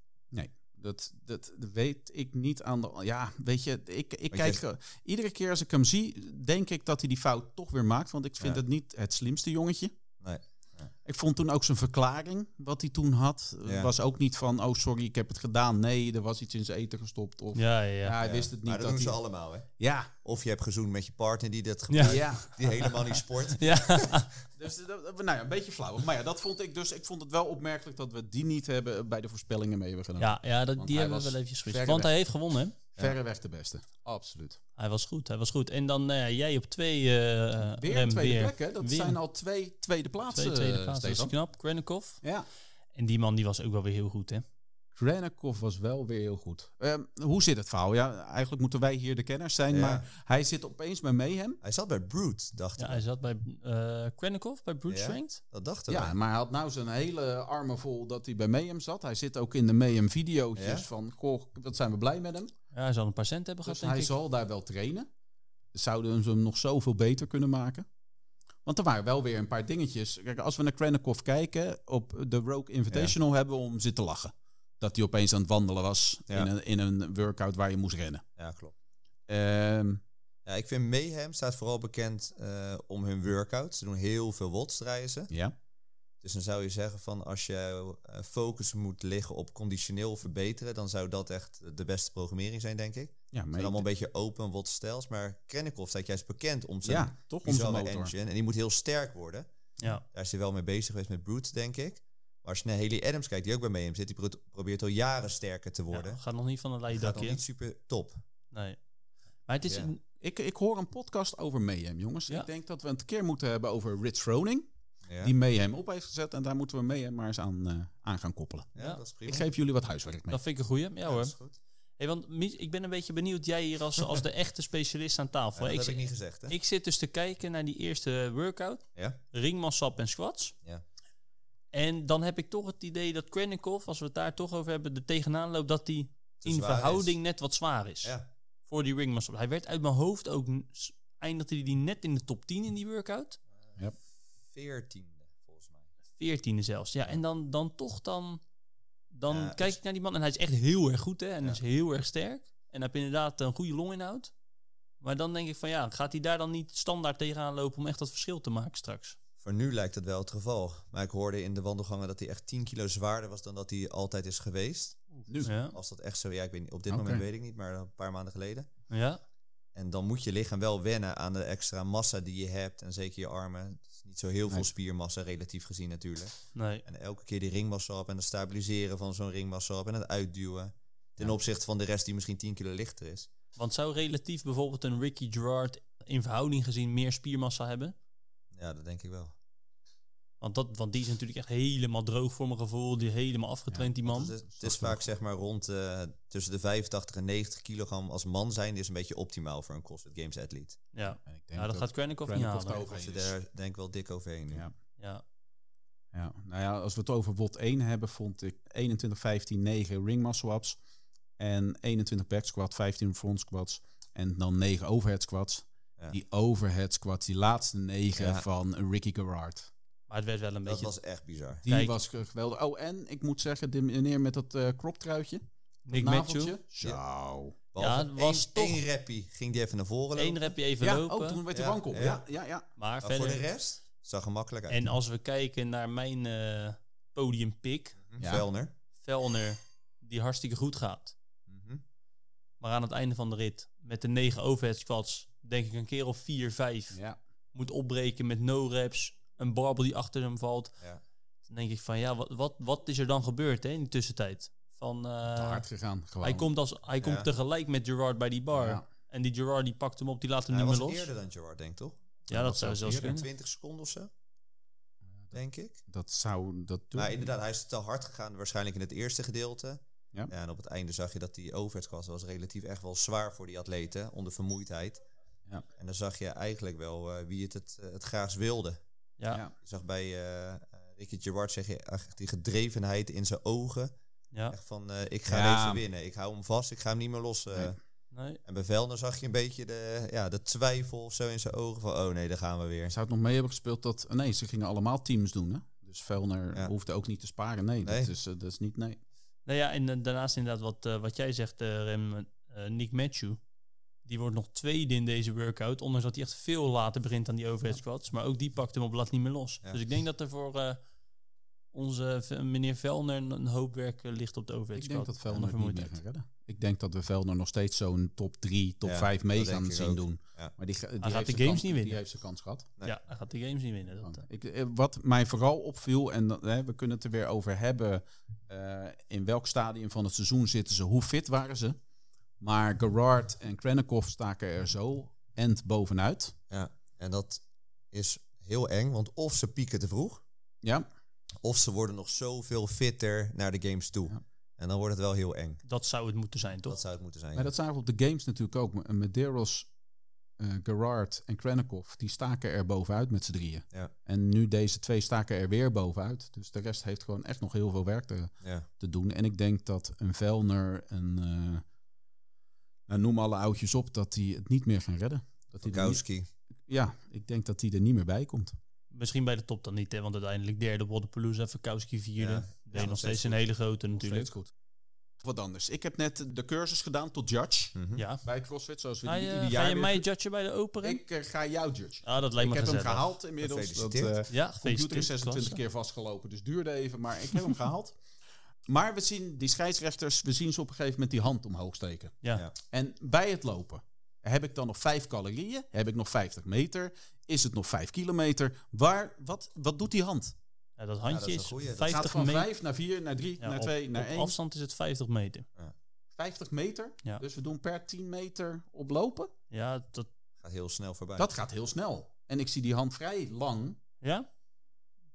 Speaker 1: Dat, dat weet ik niet aan de... Ja, weet je, ik, ik
Speaker 2: jij-
Speaker 1: kijk... eh, Iedere keer als ik hem zie, denk ik dat hij die fout toch weer maakt. Want ik vind
Speaker 2: Ja.
Speaker 1: het niet het slimste jongetje.
Speaker 2: Nee.
Speaker 1: Ik vond toen ook zijn verklaring, wat hij toen had. eh,
Speaker 2: Ja.
Speaker 1: Was ook niet van, oh sorry, ik heb het gedaan. Nee, er was iets in zijn eten gestopt. Of, ja,
Speaker 3: Ja, ja, ja.
Speaker 1: hij
Speaker 2: Ja.
Speaker 1: wist het niet.
Speaker 2: Maar dat doen ze
Speaker 1: hij,
Speaker 2: allemaal, hè?
Speaker 1: Ja,
Speaker 2: Of je hebt gezoend met je partner die dat
Speaker 3: Ja.
Speaker 2: gebruikt,
Speaker 1: ja.
Speaker 2: die helemaal niet sport.
Speaker 3: Ja.
Speaker 1: Dus dat- dat- nou ja, een beetje flauw. Maar ja, dat vond ik dus. Ik vond het wel opmerkelijk dat we die niet hebben eh, bij de voorspellingen mee hebben genomen.
Speaker 3: Ja, ja dat,
Speaker 1: Want
Speaker 3: die
Speaker 1: hij
Speaker 3: hebben we
Speaker 1: was
Speaker 3: wel eventjes gewist.
Speaker 1: verre
Speaker 3: Want
Speaker 1: weg.
Speaker 3: hij heeft gewonnen. hè?
Speaker 1: Verreweg de beste. Absoluut.
Speaker 3: Hij was goed, hij was goed. En dan nou ja, jij op twee eh eh,
Speaker 1: Weer
Speaker 3: rem,
Speaker 1: tweede
Speaker 3: weer.
Speaker 1: plek, hè? Dat
Speaker 3: Weer.
Speaker 1: zijn al twee tweede plaatsen.
Speaker 3: Twee tweede dus
Speaker 1: eh,
Speaker 3: plaats, dat is
Speaker 1: Stefan.
Speaker 3: knap. Krennikov.
Speaker 1: Ja.
Speaker 3: En die man die was ook wel weer heel goed, hè?
Speaker 1: Krennikov was wel weer heel goed. Ehm, hoe zit het verhaal? Ja, eigenlijk moeten wij hier de kenners zijn,
Speaker 2: Ja.
Speaker 1: maar hij zit opeens bij Mayhem.
Speaker 2: Hij zat bij Brute, dacht
Speaker 3: Ja,
Speaker 2: ik.
Speaker 3: hij zat bij eh Krennikov, bij Brute
Speaker 2: Ja.
Speaker 3: Strength.
Speaker 2: Dat dachten we.
Speaker 1: Ja, maar hij had nou zijn hele armen vol dat hij bij Mayhem zat. Hij zit ook in de Mayhem video's
Speaker 2: Ja?
Speaker 1: van, goh, wat zijn we blij met hem.
Speaker 3: Ja, hij zal een paar cent hebben
Speaker 1: Dus
Speaker 3: gehad,
Speaker 1: hij
Speaker 3: denk ik.
Speaker 1: zal daar wel trainen. Zouden ze hem nog zoveel beter kunnen maken? Want er waren wel weer een paar dingetjes. Kijk, als we naar Krennikov kijken, op de Rogue Invitational hebben we om zitten lachen. Dat hij opeens aan het wandelen was
Speaker 2: Ja.
Speaker 1: in, een, in een workout waar je moest rennen.
Speaker 2: Ja, klopt.
Speaker 1: Ehm,
Speaker 2: Ja, ik vind Mayhem staat vooral bekend eh, om hun workouts. Ze doen heel veel watts, draaien ze.
Speaker 1: ja.
Speaker 2: Dus dan zou je zeggen van als je eh, focus moet liggen op conditioneel verbeteren, dan zou dat echt de beste programmering zijn, denk ik. Het
Speaker 1: ja, maar
Speaker 2: zijn allemaal een beetje open wat stijls, maar Krennikov staat juist bekend om zijn
Speaker 1: ja, toch onze
Speaker 2: bizarre
Speaker 1: motor.
Speaker 2: engine. En die moet heel sterk worden.
Speaker 3: Ja.
Speaker 2: Daar is hij wel mee bezig geweest met Brute, denk ik. Maar als je naar Haley Adams kijkt, die ook bij Mayhem zit, die pro- probeert al jaren sterker te worden.
Speaker 3: Ja, gaat nog niet van een leien
Speaker 2: gaat nog
Speaker 3: dakje.
Speaker 2: niet super top.
Speaker 3: Nee. Maar het is
Speaker 2: Ja.
Speaker 3: een-
Speaker 1: Ik, ik hoor een podcast over Mayhem, jongens.
Speaker 3: Ja.
Speaker 1: Ik denk dat we het een keer moeten hebben over Rich Froning.
Speaker 2: Ja,
Speaker 1: Die Mayhem op heeft gezet. En daar moeten we Mayhem maar eens aan, eh, aan gaan koppelen.
Speaker 2: ja,
Speaker 3: Ja.
Speaker 2: dat is prima.
Speaker 1: Ik geef jullie wat huiswerk mee.
Speaker 3: dat vind ik een goeie. Ja,
Speaker 2: Ja,
Speaker 3: hoor.
Speaker 2: dat is goed.
Speaker 3: Hey, want Mies, ik ben een beetje benieuwd, jij hier als, als de echte specialist aan
Speaker 2: Ja,
Speaker 3: tafel.
Speaker 2: dat
Speaker 3: ik,
Speaker 2: heb
Speaker 3: zi-
Speaker 2: ik niet gezegd, hè?
Speaker 3: ik zit dus te kijken naar die eerste workout.
Speaker 2: Ja.
Speaker 3: Ringmansap en squats.
Speaker 2: Ja.
Speaker 3: En dan heb ik toch het idee dat Krennikov, als we het daar toch over hebben, er tegenaan loopt dat hij
Speaker 2: Te
Speaker 3: in
Speaker 2: zwaar is.
Speaker 3: verhouding net wat zwaar is.
Speaker 2: Ja,
Speaker 3: Voor die ringmansap. Hij werd uit mijn hoofd ook, n- s- eindigde hij die net in de top 10 in die workout.
Speaker 2: veertiende volgens mij.
Speaker 3: 14e zelfs. Ja, en dan, dan toch dan... Dan
Speaker 2: Ja,
Speaker 3: kijk
Speaker 2: is-
Speaker 3: ik naar die man en hij is echt heel erg goed hè. En
Speaker 2: Ja.
Speaker 3: is heel erg sterk. En heb inderdaad een goede longinhoud. Maar dan denk ik van ja, gaat hij daar dan niet standaard tegenaan lopen om echt dat verschil te maken straks?
Speaker 2: Voor nu lijkt dat wel het geval. Maar ik hoorde in de wandelgangen dat hij echt 10 kilo zwaarder was dan dat hij altijd is geweest.
Speaker 1: Nu.
Speaker 3: Ja.
Speaker 2: Als dat echt zo, ja, ik weet niet, op dit
Speaker 1: Oké.
Speaker 2: moment weet ik niet, maar een paar maanden geleden.
Speaker 3: ja.
Speaker 2: En dan moet je lichaam wel wennen aan de extra massa die je hebt en zeker je armen. Het is niet zo heel
Speaker 1: Nee.
Speaker 2: veel spiermassa relatief gezien natuurlijk.
Speaker 3: Nee.
Speaker 2: En elke keer die ringmassa op en het stabiliseren van zo'n ringmassa op en het uitduwen. Ten opzichte van de rest die misschien 10 kilo lichter is.
Speaker 3: Want zou relatief bijvoorbeeld een Ricky Gerard in verhouding gezien meer spiermassa hebben?
Speaker 2: Ja, dat denk ik wel.
Speaker 3: Want, dat, want die is natuurlijk echt helemaal droog voor mijn gevoel. Die helemaal afgetraind, die
Speaker 2: Want
Speaker 3: man.
Speaker 2: Dus Het is, het is vaak zeg maar rond eh, tussen de 85 en 90 kilogram als man zijn is een beetje optimaal voor een CrossFit Games atleet.
Speaker 3: Ja,
Speaker 1: En ik denk
Speaker 3: ja dat gaat Krennikov niet
Speaker 1: Krennikov
Speaker 3: halen.
Speaker 1: het
Speaker 2: Als je
Speaker 1: is.
Speaker 2: daar denk ik wel dik overheen. nu.
Speaker 1: Ja.
Speaker 3: Ja.
Speaker 1: Ja, nou ja, als we het over WOT 1 hebben, vond ik 21, 15, 9 ring muscle ups. En 21 back squat, 15 front squats. En dan 9 overhead squats.
Speaker 2: Ja.
Speaker 1: Die overhead squats, die laatste 9
Speaker 2: Ja.
Speaker 1: van Ricky Gerard.
Speaker 3: Maar het werd wel een
Speaker 2: Dat
Speaker 3: beetje...
Speaker 2: was echt bizar.
Speaker 1: Die
Speaker 3: Kijk.
Speaker 1: was ge- geweldig. Oh, en ik moet zeggen, de meneer met dat eh crop truitje.
Speaker 3: Nick Matthew.
Speaker 1: naveltje. Zo.
Speaker 2: Behalve
Speaker 3: het was
Speaker 2: één,
Speaker 3: toch-
Speaker 2: één rappie ging die even naar voren
Speaker 3: Eén
Speaker 2: lopen.
Speaker 3: repje even
Speaker 1: Ja,
Speaker 3: lopen.
Speaker 1: ook toen werd de
Speaker 2: Ja,
Speaker 1: bank op.
Speaker 2: ja.
Speaker 1: Ja, ja, ja.
Speaker 3: Maar
Speaker 2: Maar voor
Speaker 3: verder...
Speaker 2: de rest zag er makkelijk uit.
Speaker 3: En als we kijken naar mijn eh podiumpik,
Speaker 2: Mhm.
Speaker 1: Ja.
Speaker 2: Velner.
Speaker 3: Velner, die hartstikke goed gaat.
Speaker 2: Mhm.
Speaker 3: Maar aan het einde van de rit, met de negen overhead squats, denk ik een keer of vier, vijf,
Speaker 1: ja.
Speaker 3: moet opbreken met no reps, een barbel die achter hem valt.
Speaker 2: Ja.
Speaker 3: Dan denk ik van, ja, wat, wat, wat is er dan gebeurd hè, in de tussentijd? Van, eh,
Speaker 1: Te hard gegaan. Gewoon.
Speaker 3: hij komt, als, hij komt
Speaker 2: Ja.
Speaker 3: tegelijk met Gerard bij die bar.
Speaker 1: Ja.
Speaker 3: En die Gerard die pakt hem op, die laat hem
Speaker 2: Hij
Speaker 3: niet
Speaker 2: was
Speaker 3: meer los.
Speaker 2: eerder dan Gerard, denk ik toch?
Speaker 3: Ja, dat zou
Speaker 1: was
Speaker 3: zelfs
Speaker 1: eerder.
Speaker 3: kunnen.
Speaker 2: 20 seconden of zo, denk ik.
Speaker 1: Dat zou... Dat doe-
Speaker 2: Maar inderdaad, hij is te hard gegaan, waarschijnlijk in het eerste gedeelte.
Speaker 1: Ja.
Speaker 2: en op het einde zag je dat die overheadskwast was relatief echt wel zwaar voor die atleten, onder vermoeidheid.
Speaker 1: Ja.
Speaker 2: En dan zag je eigenlijk wel eh, wie het, het, eh, het graagst wilde.
Speaker 3: Ja, ja.
Speaker 1: Ja.
Speaker 2: Je zag bij eh, eh, Ricky Gerard zeg je echt die gedrevenheid in zijn ogen. Echt van, eh, ik ga
Speaker 1: Ja.
Speaker 2: deze winnen. Ik hou hem vast, ik ga hem niet meer los. eh.
Speaker 1: Nee.
Speaker 3: Nee.
Speaker 2: En bij Velner zag je een beetje de, ja, de twijfel of zo in zijn ogen. Van, oh nee, daar gaan we weer.
Speaker 1: Zou het nog mee hebben gespeeld dat... eh, Nee, ze gingen allemaal teams doen, hè? Dus Velner
Speaker 2: Ja.
Speaker 1: hoefde ook niet te sparen. Nee,
Speaker 2: Nee.
Speaker 1: Dat, is, eh, dat is niet... Nee.
Speaker 3: Nou ja, en eh, daarnaast inderdaad wat, eh, wat jij zegt, eh, Rem, eh, Nick Matthew. Die wordt nog tweede in deze workout. Ondanks dat hij echt veel later begint dan die overhead squats. Maar ook die pakt hem op blad niet meer los.
Speaker 2: Ja.
Speaker 3: Dus ik denk dat er voor eh, onze v- meneer Velner een- een hoop werk eh, ligt op de overhead
Speaker 1: Ik denk
Speaker 3: squat.
Speaker 1: dat
Speaker 3: En
Speaker 1: Velner
Speaker 3: de
Speaker 1: het niet meer
Speaker 3: vermoeidheid.
Speaker 1: gaat redden. Ik denk dat we Velner nog steeds zo'n top 3, top
Speaker 2: Ja,
Speaker 1: 5 mee
Speaker 2: dat denk
Speaker 1: gaan
Speaker 2: ik
Speaker 1: zien
Speaker 2: ook.
Speaker 1: doen.
Speaker 2: Ja.
Speaker 1: Maar die, ga- die
Speaker 3: gaat
Speaker 1: heeft
Speaker 3: de
Speaker 1: zijn
Speaker 3: games
Speaker 1: kans-
Speaker 3: niet winnen.
Speaker 1: Die heeft zijn kans gehad.
Speaker 2: Nee.
Speaker 3: Ja, hij gaat de games niet winnen. Dat, eh.
Speaker 1: Ik, eh, wat mij vooral opviel, en dat- hè, we kunnen het er weer over hebben... eh, in welk stadium van het seizoen zitten ze, hoe fit waren ze. Maar Gerard en Krennikov staken er zo end bovenuit.
Speaker 2: Ja. En dat is heel eng, want of ze pieken te vroeg.
Speaker 1: Ja,
Speaker 2: Of ze worden nog zoveel fitter naar de games toe.
Speaker 1: Ja.
Speaker 2: En dan wordt het wel heel eng.
Speaker 3: dat zou het moeten zijn,
Speaker 2: Dat
Speaker 3: toch?
Speaker 2: zou het moeten zijn.
Speaker 1: maar dat zagen we op de games natuurlijk ook. M- Medeiros, eh, Gerard en Krennikov, die staken er bovenuit met z'n drieën.
Speaker 2: Ja.
Speaker 1: En nu deze twee staken er weer bovenuit. Dus de rest heeft gewoon echt nog heel veel werk te,
Speaker 2: ja.
Speaker 1: te doen. En ik denk dat een Velner, een, eh, nou, noem alle oudjes op, dat die het niet meer gaan redden. Dat die er niet-
Speaker 2: Kowski.
Speaker 1: Ja, ik denk dat die er niet meer bij komt.
Speaker 3: Misschien bij de top dan niet, hè, want uiteindelijk derde Wodderpalooza, Verkowski vierde.
Speaker 2: Ja,
Speaker 3: Ja,
Speaker 2: ja, nog
Speaker 3: nog
Speaker 2: steeds
Speaker 3: steeds een
Speaker 2: goed.
Speaker 3: hele grote natuurlijk.
Speaker 1: Steeds goed. Wat anders. Ik heb net de cursus gedaan tot judge
Speaker 2: Mhm.
Speaker 3: Ja.
Speaker 1: bij CrossFit, zoals we
Speaker 3: Ga
Speaker 1: die
Speaker 3: je, eh,
Speaker 1: ieder
Speaker 3: ga
Speaker 1: jaar
Speaker 3: je
Speaker 1: weer-
Speaker 3: mij judgen bij de open ring?
Speaker 1: Ik eh, ga jou judgen.
Speaker 3: Ah, dat
Speaker 1: Ik
Speaker 3: lijkt me
Speaker 1: heb hem
Speaker 3: gezellig.
Speaker 1: gehaald inmiddels. Dat,
Speaker 2: Gefeliciteerd.
Speaker 1: eh, computer
Speaker 3: Ja,
Speaker 1: is
Speaker 3: gefeliciteerd,
Speaker 1: 26
Speaker 3: klasse.
Speaker 1: keer vastgelopen, dus duurde even, maar ik heb hem gehaald. Maar we zien die scheidsrechters, we zien ze op een gegeven moment die hand omhoog steken.
Speaker 3: Ja.
Speaker 2: Ja.
Speaker 1: En bij het lopen heb ik dan nog 5 calorieën, heb ik nog 50 meter, is het nog 5 kilometer. Waar, wat, wat doet die hand?
Speaker 3: Ja,
Speaker 2: Ja,
Speaker 3: dat
Speaker 2: dat
Speaker 3: handje
Speaker 2: is een
Speaker 3: is,
Speaker 2: goeie. Dat
Speaker 1: Het gaat
Speaker 3: 50
Speaker 1: van
Speaker 3: meter.
Speaker 1: 5 naar 4, naar 3,
Speaker 3: Ja,
Speaker 1: naar
Speaker 3: op-
Speaker 1: 2, naar
Speaker 3: op
Speaker 1: 1.
Speaker 3: afstand is het 50 meter.
Speaker 1: 50 meter.
Speaker 3: Ja.
Speaker 1: Dus we doen per 10 meter oplopen.
Speaker 3: Ja, dat...
Speaker 2: Gaat heel snel voorbij.
Speaker 1: Dat gaat heel snel. En ik zie die hand vrij lang.
Speaker 3: Ja?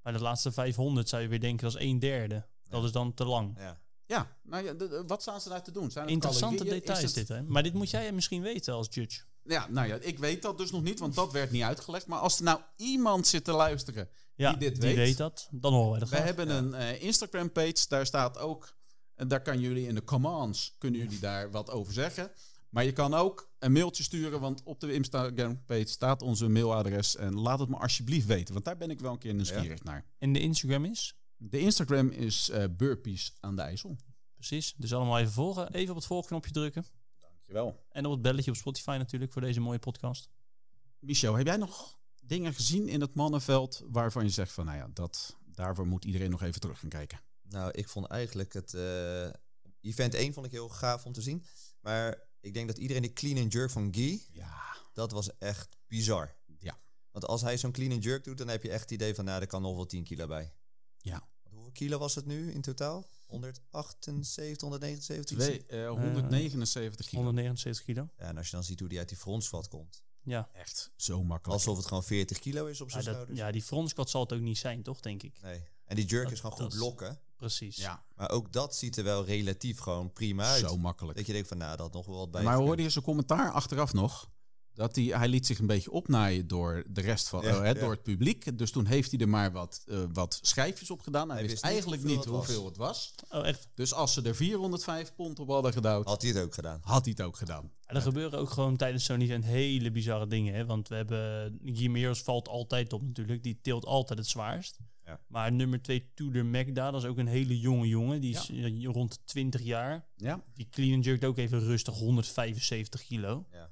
Speaker 3: Bij de laatste 500 zou je weer denken, dat is een derde. Dat is dan te lang.
Speaker 2: Ja.
Speaker 1: Ja, nou ja, de- de- wat staan ze daar te doen? Zijn het
Speaker 3: Interessante
Speaker 1: calorieën? Is
Speaker 3: details
Speaker 1: het-
Speaker 3: dit, hè? Maar dit moet jij misschien weten als judge.
Speaker 1: Ja, nou ja, ik weet dat dus nog niet, want dat werd niet uitgelegd. Maar als er nou iemand zit te luisteren.
Speaker 3: Ja,
Speaker 1: Die
Speaker 3: die,
Speaker 1: dit weet.
Speaker 3: weet dat. Dan horen wij dat
Speaker 1: We
Speaker 3: graag.
Speaker 1: hebben een eh, Instagram-page, daar staat ook... En daar kan jullie in de commands, kunnen jullie daar wat over zeggen. Maar je kan ook een mailtje sturen, want op de Instagram-page staat onze mailadres. En laat het me alsjeblieft weten, want daar ben ik wel een keer nieuwsgierig naar.
Speaker 3: En de Instagram is?
Speaker 1: De Instagram is eh, Burpees aan de IJssel.
Speaker 3: Precies. Dus allemaal even volgen. Even op het volgknopje drukken.
Speaker 1: Dankjewel.
Speaker 3: En op het belletje op Spotify natuurlijk voor deze mooie podcast.
Speaker 1: Michel, heb jij nog dingen gezien in het mannenveld waarvan je zegt van... Nou ja, dat, daarvoor moet iedereen nog even terug gaan kijken.
Speaker 2: Nou, ik vond eigenlijk het eh, event 1 vond ik heel gaaf om te zien. Maar ik denk dat iedereen de clean and jerk van Guy,
Speaker 1: Ja...
Speaker 2: dat was echt bizar.
Speaker 1: Ja.
Speaker 2: Want als hij zo'n clean and jerk doet, dan heb je echt het idee van, nou, er kan nog wel 10 kilo bij.
Speaker 1: Ja.
Speaker 2: Want hoeveel kilo was het nu in totaal? 178, 179?
Speaker 1: Twee, eh, 179 kilo.
Speaker 3: 179 kilo.
Speaker 2: Ja, en als je dan ziet hoe die uit die frontsvat komt.
Speaker 3: Ja.
Speaker 1: Echt zo makkelijk.
Speaker 2: Alsof het gewoon 40 kilo is op
Speaker 3: Ja,
Speaker 2: zijn
Speaker 3: Ah, dat-
Speaker 2: schouders.
Speaker 3: ja, die frontsquat zal het ook niet zijn, toch, denk ik?
Speaker 2: Nee. En die jerk
Speaker 3: Dat-
Speaker 2: is gewoon
Speaker 3: dat
Speaker 2: goed
Speaker 3: is-
Speaker 2: lokken.
Speaker 3: Precies.
Speaker 1: Ja,
Speaker 2: Maar ook dat ziet er wel relatief gewoon prima uit.
Speaker 1: zo makkelijk.
Speaker 2: Dat je denkt van, nou, dat had nog wel wat bij.
Speaker 1: maar
Speaker 2: gekund.
Speaker 1: hoorde je zijn commentaar achteraf nog? Dat hij, hij liet zich een beetje opnaaien door de rest van
Speaker 2: Ja,
Speaker 1: oh, hè,
Speaker 2: ja.
Speaker 1: door het publiek. Dus toen heeft hij er maar wat, eh, wat schijfjes op gedaan. Hij,
Speaker 2: Hij
Speaker 1: wist
Speaker 2: wist niet
Speaker 1: eigenlijk
Speaker 2: hoeveel
Speaker 1: niet
Speaker 2: het was.
Speaker 1: hoeveel het was.
Speaker 3: Oh, echt.
Speaker 1: Dus als ze er 405 pond op hadden gedouwd,
Speaker 2: Had hij het ook gedaan.
Speaker 1: had hij het ook gedaan.
Speaker 3: En er gebeuren ook gewoon tijdens zo'n event hele bizarre dingen. Hè? Want we hebben... Gimeos valt altijd op natuurlijk. Die tilt altijd het zwaarst.
Speaker 2: Ja.
Speaker 3: Maar nummer 2, Tudor Magda, dat is ook een hele jonge jongen. Die is
Speaker 1: Ja.
Speaker 3: eh, rond de 20 jaar.
Speaker 1: Ja.
Speaker 3: Die clean and jerked ook even rustig 175 kilo.
Speaker 2: Ja.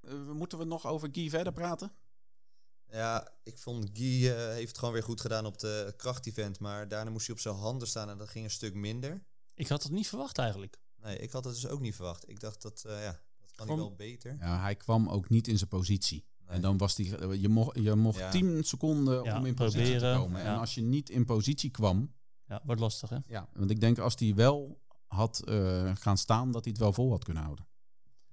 Speaker 1: Eh, moeten we nog over Guy verder praten?
Speaker 2: Ja, ik vond Guy eh, heeft het gewoon weer goed gedaan op de krachtevent. Maar daarna moest hij op zijn handen staan en dat ging een stuk minder.
Speaker 3: Ik had dat niet verwacht eigenlijk.
Speaker 2: Nee, ik had het dus ook niet verwacht. Ik dacht dat, eh, ja, dat kan hij
Speaker 3: Van-
Speaker 2: wel beter.
Speaker 1: Ja, hij kwam ook niet in zijn positie.
Speaker 2: Nee.
Speaker 1: En dan was die, eh, je mocht, je mocht
Speaker 2: Ja.
Speaker 1: 10 seconden
Speaker 3: Ja,
Speaker 1: om in positie
Speaker 3: proberen,
Speaker 1: te komen. En
Speaker 3: ja.
Speaker 1: als je niet in positie kwam,
Speaker 3: Ja, wordt lastig hè.
Speaker 1: Ja, want ik denk als hij wel had eh, gaan staan, dat hij het wel vol had kunnen houden.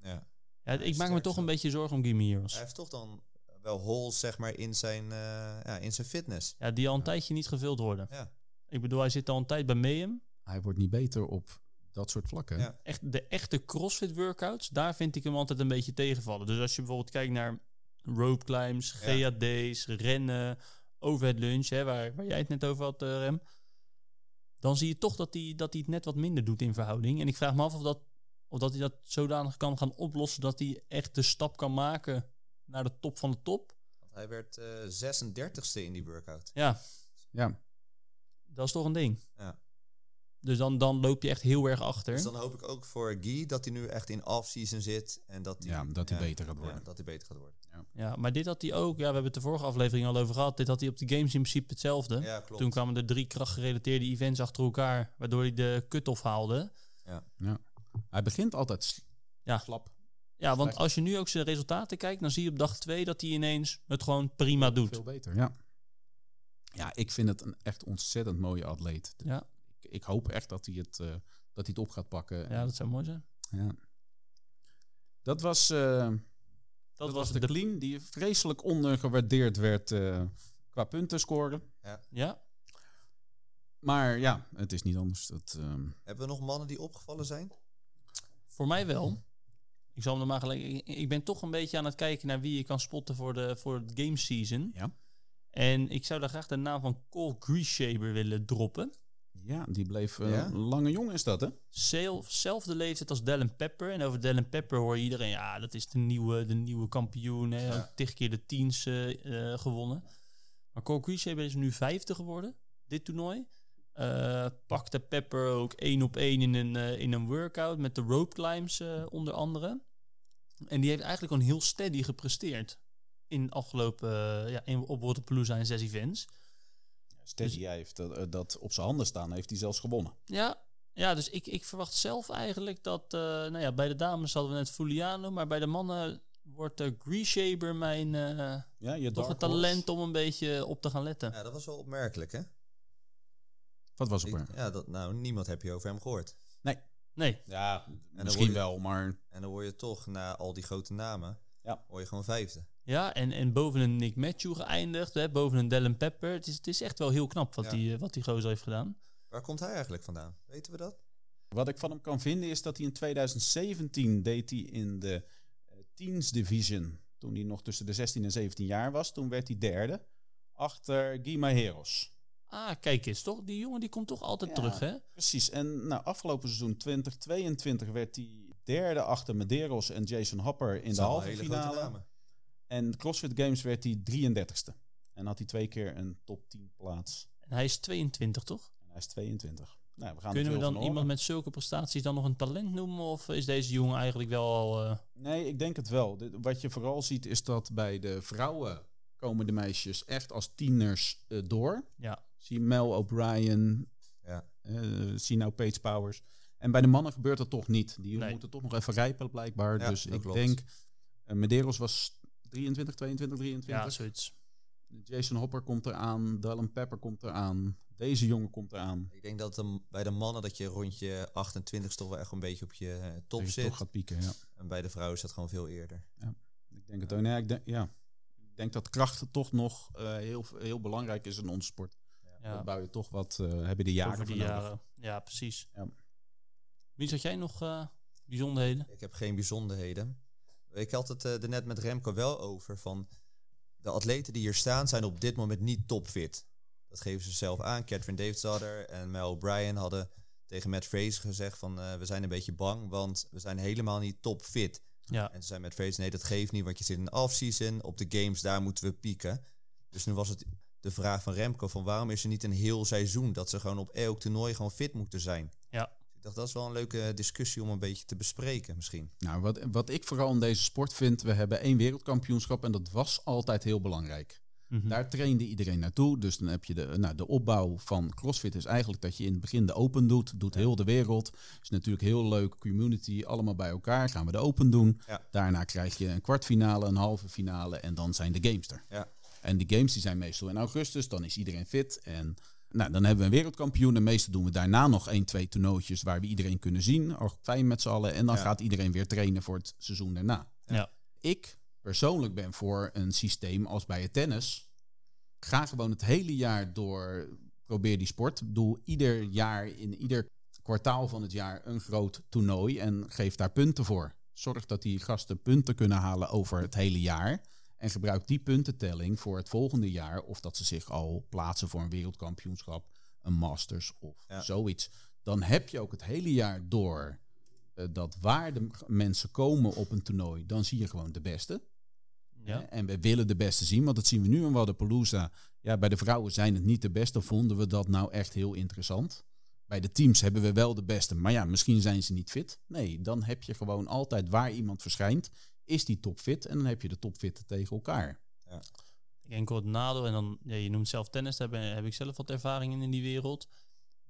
Speaker 2: Ja.
Speaker 3: Ja, ik maak me
Speaker 2: sterk
Speaker 3: toch
Speaker 2: zo.
Speaker 3: een beetje zorgen om Gimeos.
Speaker 2: Hij heeft toch dan wel holes, zeg maar, in zijn, eh, ja, in zijn fitness.
Speaker 3: Ja, die al een tijdje niet gevuld worden.
Speaker 2: Ja.
Speaker 3: Ik bedoel, hij zit al een tijd bij Mayhem.
Speaker 1: Hij wordt niet beter op dat soort vlakken.
Speaker 2: Ja.
Speaker 3: Echt, de echte crossfit workouts, daar vind ik hem altijd een beetje tegenvallen. Dus als je bijvoorbeeld kijkt naar rope climbs,
Speaker 2: Ja.
Speaker 3: GAD's, rennen, overhead lunch, hè, waar, waar jij het net over had, eh, Rem. Dan zie je toch dat hij, dat hij het net wat minder doet in verhouding. En ik vraag me af of, dat, of dat hij dat zodanig kan gaan oplossen dat hij echt de stap kan maken naar de top van de top.
Speaker 2: Want hij werd eh 36ste in die workout.
Speaker 3: Ja,
Speaker 1: Ja.
Speaker 3: dat is toch een ding.
Speaker 2: Ja.
Speaker 3: Dus dan, dan loop je echt heel erg achter.
Speaker 2: Dus dan hoop ik ook voor Guy dat hij nu echt in off-season zit. En dat hij,
Speaker 1: Ja, dat hij beter gaat
Speaker 2: ja,
Speaker 1: worden.
Speaker 2: dat hij beter gaat worden.
Speaker 3: Ja, maar dit had hij ook. Ja, we hebben het de vorige aflevering al over gehad. Dit had hij op de games in principe hetzelfde.
Speaker 2: Ja, klopt.
Speaker 3: Toen kwamen er drie krachtgerelateerde events achter elkaar, waardoor hij de cut-off haalde.
Speaker 1: Hij begint altijd s-
Speaker 3: Ja.
Speaker 1: slap.
Speaker 3: Ja, want
Speaker 1: Slecht.
Speaker 3: als je nu ook zijn resultaten kijkt, dan zie je op dag twee dat hij ineens het gewoon prima doet.
Speaker 1: Veel beter, ja. Ja, ik vind het een echt ontzettend mooie atleet.
Speaker 3: Ja.
Speaker 1: Ik, ik hoop echt dat hij, het, eh, dat hij het op gaat pakken.
Speaker 3: Ja, dat zou mooi zijn.
Speaker 1: Ja. Dat was, eh,
Speaker 3: Dat,
Speaker 1: was de clean die vreselijk ondergewaardeerd werd eh qua puntenscoren.
Speaker 3: Ja,
Speaker 1: Maar ja, het is niet anders. Dat, ehm,
Speaker 2: Hebben we nog mannen die opgevallen zijn?
Speaker 3: voor mij wel. Ik zal hem er maar gelijk. ik- Ik ben toch een beetje aan het kijken naar wie je kan spotten voor de voor het game season.
Speaker 1: Ja.
Speaker 3: En ik zou daar graag de naam van Cole Greashaber willen droppen.
Speaker 1: Ja, die bleef eh,
Speaker 2: Ja?
Speaker 1: een lange jong is dat, hè?
Speaker 3: Zelf, zelfde leeftijd als Dallin Pepper. En over Dallin Pepper hoor je iedereen... ja, dat is de nieuwe, de nieuwe kampioen. Hè,
Speaker 2: Ja.
Speaker 3: ook tig keer de tiens eh, eh, gewonnen. Maar Corcuisier is nu vijfde geworden, dit toernooi. Eh, pakte Pepper ook één op één in een, eh, in een workout... met de rope climbs eh, onder andere. En die heeft eigenlijk gewoon heel steady gepresteerd... in de afgelopen... eh, ja, in, op Waterpalooza in zes events.
Speaker 1: Steady hij heeft dat, eh, dat op zijn handen staan, heeft hij zelfs gewonnen.
Speaker 3: Ja, ja dus ik, ik verwacht zelf eigenlijk dat... eh, nou ja, bij de dames hadden we net Fuliano, maar bij de mannen wordt de Greeshaber mijn... eh,
Speaker 1: Ja, je
Speaker 3: toch het
Speaker 1: dark horse.
Speaker 3: talent om een beetje op te gaan letten.
Speaker 2: Ja, dat was wel opmerkelijk, hè?
Speaker 1: Wat was op
Speaker 2: Ik,
Speaker 1: er?
Speaker 2: ja, dat, nou, niemand heb je over hem gehoord.
Speaker 3: Nee,
Speaker 1: Ja,
Speaker 2: dan
Speaker 1: misschien
Speaker 2: word je-
Speaker 1: wel, maar
Speaker 2: En dan hoor je toch, na al die grote namen,
Speaker 1: Ja.
Speaker 2: hoor je gewoon vijfde.
Speaker 3: ja, en, en boven een Nick Matthew geëindigd, hè, boven een Dallin Pepper. Het is, het is echt wel heel knap wat,
Speaker 2: Ja.
Speaker 3: die, eh, wat die gozer heeft gedaan.
Speaker 2: Waar komt hij eigenlijk vandaan? Weten we dat?
Speaker 1: wat ik van hem kan vinden is dat hij in 2017 deed hij in de eh, teens division. Toen hij nog tussen de 16 en 17 jaar was, toen werd hij derde. Achter Guima Heros.
Speaker 3: Ah, kijk eens, toch? Die jongen die komt toch altijd
Speaker 1: Ja.
Speaker 3: terug, hè?
Speaker 1: Precies, en nou, afgelopen seizoen 2022 werd hij derde achter Medeiros en Jason Hopper in de halve finale. En de CrossFit Games werd hij 33ste. En had hij twee keer een top 10 plaats.
Speaker 3: En hij is 22, toch?
Speaker 1: En hij is 22. Nou, we gaan er
Speaker 3: Kunnen we
Speaker 1: veel
Speaker 3: dan
Speaker 1: van
Speaker 3: iemand
Speaker 1: horen.
Speaker 3: met zulke prestaties dan nog een talent noemen? Of is deze jongen eigenlijk wel al... eh,
Speaker 1: Nee, ik denk het wel. Dit- wat je vooral ziet is dat bij de vrouwen komen de meisjes echt als tieners eh, door.
Speaker 3: Ja.
Speaker 1: Zie Mel O'Brien,
Speaker 2: Ja.
Speaker 1: eh, zie nou Paige Powers. En bij de mannen gebeurt dat toch niet. Die
Speaker 3: Nee.
Speaker 1: moeten toch nog even rijpen blijkbaar.
Speaker 2: Ja,
Speaker 1: dus
Speaker 2: dat
Speaker 1: ik
Speaker 2: klopt.
Speaker 1: denk, eh, Medeiros was 23, 22, 23.
Speaker 3: ja, zoiets.
Speaker 1: Jason Hopper komt eraan, Dylan Pepper komt eraan, deze jongen komt eraan.
Speaker 2: Ik denk dat de- bij de mannen dat je rond je 28ste toch wel echt een beetje op je eh, top
Speaker 1: Dat je
Speaker 2: zit.
Speaker 1: toch gaat pieken, ja.
Speaker 2: En bij de vrouwen is dat gewoon veel eerder.
Speaker 1: Ik denk het ook. Nee, ik denk, ja. ik denk dat kracht toch nog eh, heel, heel belangrijk is in onze sport.
Speaker 3: Ja.
Speaker 1: Dan bouw je toch wat, eh hebben de jaren
Speaker 3: over die
Speaker 1: voor nodig.
Speaker 3: jaren. Ja, precies.
Speaker 1: Ja.
Speaker 3: Mies, had jij nog eh, bijzonderheden?
Speaker 2: Ik heb geen bijzonderheden. Ik had het eh er net met Remco wel over van... De atleten die hier staan zijn op dit moment niet topfit. Dat geven ze zelf aan. Catherine Davis hadden en Mel O'Brien hadden tegen Matt Fraser gezegd van... eh, we zijn een beetje bang, want we zijn helemaal niet topfit.
Speaker 3: Ja.
Speaker 2: En toen zei Matt Fraser, nee dat geeft niet, want je zit in de offseason. Op de games, daar moeten we pieken. Dus nu was het de vraag van Remco van waarom is er niet een heel seizoen... dat ze gewoon op elk toernooi gewoon fit moeten zijn.
Speaker 3: Ja.
Speaker 2: Ik dacht, dat is wel een leuke discussie om een beetje te bespreken misschien.
Speaker 1: Nou, wat, wat ik vooral in deze sport vind, we hebben één wereldkampioenschap en dat was altijd heel belangrijk.
Speaker 3: Mhm.
Speaker 1: Daar trainde iedereen naartoe. Dus dan heb je de, nou, de opbouw van CrossFit is eigenlijk dat je in het begin de open doet. Doet heel de wereld. Is natuurlijk heel leuk. Community, allemaal bij elkaar. Gaan we de open doen.
Speaker 2: Ja.
Speaker 1: Daarna krijg je een kwartfinale, een halve finale en dan zijn de games er.
Speaker 2: Ja.
Speaker 1: En de games die zijn meestal in augustus. Dan is iedereen fit en... Nou, dan hebben we een wereldkampioen. En meestal doen we daarna nog één, twee toernooitjes waar we iedereen kunnen zien. Ook fijn met z'n allen. En dan
Speaker 2: Ja.
Speaker 1: gaat iedereen weer trainen voor het seizoen daarna.
Speaker 3: Ja.
Speaker 1: Ik persoonlijk ben voor een systeem als bij het tennis. Ga gewoon het hele jaar door. Probeer die sport. Doe ieder jaar in ieder kwartaal van het jaar een groot toernooi. En geef daar punten voor. Zorg dat die gasten punten kunnen halen over het hele jaar. En gebruik die puntentelling voor het volgende jaar. Of dat ze zich al plaatsen voor een wereldkampioenschap, een masters of
Speaker 2: Ja.
Speaker 1: zoiets. Dan heb je ook het hele jaar door eh, dat waar de m- mensen komen op een toernooi, dan zie je gewoon de beste.
Speaker 3: Ja.
Speaker 1: Hè? En we willen de beste zien, want dat zien we nu in Wadapalooza. Ja, bij de vrouwen zijn het niet de beste, vonden we dat nou echt heel interessant. Bij de teams hebben we wel de beste, maar ja, misschien zijn ze niet fit. Nee, dan heb je gewoon altijd waar iemand verschijnt, is die topfit en dan heb je de topfitten tegen elkaar.
Speaker 3: Ik enkel het nadeel, en dan, ja, je noemt zelf tennis, daar ben, heb ik zelf wat ervaring in in die wereld.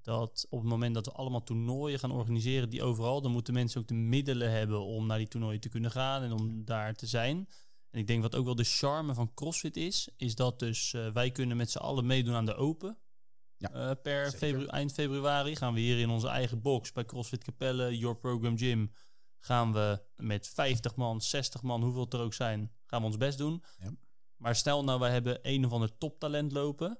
Speaker 3: Dat op het moment dat we allemaal toernooien gaan organiseren, die overal, dan moeten mensen ook de middelen hebben om naar die toernooien te kunnen gaan en om daar te zijn. En ik denk wat ook wel de charme van CrossFit is, is dat dus eh, wij kunnen met z'n allen meedoen aan de Open.
Speaker 1: Ja,
Speaker 3: Eh, per
Speaker 2: zeker.
Speaker 3: febru- eind februari gaan we hier in onze eigen box bij CrossFit Capelle, Your Program Gym, gaan we met 50 man, 60 man, hoeveel het er ook zijn, gaan we ons best doen. Maar stel nou, wij hebben een of ander toptalent lopen.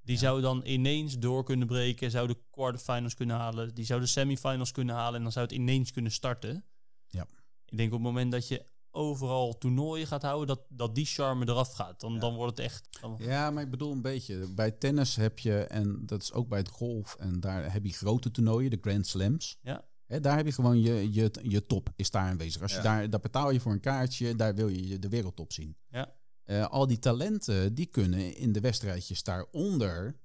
Speaker 3: Die zou dan ineens door kunnen breken. Zou de quarterfinals kunnen halen. Die zou de semifinals kunnen halen. En dan zou het ineens kunnen starten.
Speaker 1: Ja.
Speaker 3: Ik denk op het moment dat je overal toernooien gaat houden, dat, dat die charme eraf gaat. Dan,
Speaker 1: Ja.
Speaker 3: dan wordt het echt... dan-
Speaker 1: Ja, maar ik bedoel een beetje. Bij tennis heb je, en dat is ook bij het golf, en daar heb je grote toernooien, de Grand Slams.
Speaker 3: Ja.
Speaker 1: Hè, daar heb je gewoon je, je, je top, is daar aanwezig. Als
Speaker 2: Ja.
Speaker 1: je daar, daar betaal je voor een kaartje, daar wil je je de wereldtop zien.
Speaker 3: Ja.
Speaker 1: Eh, al die talenten, die kunnen in de wedstrijdjes daaronder,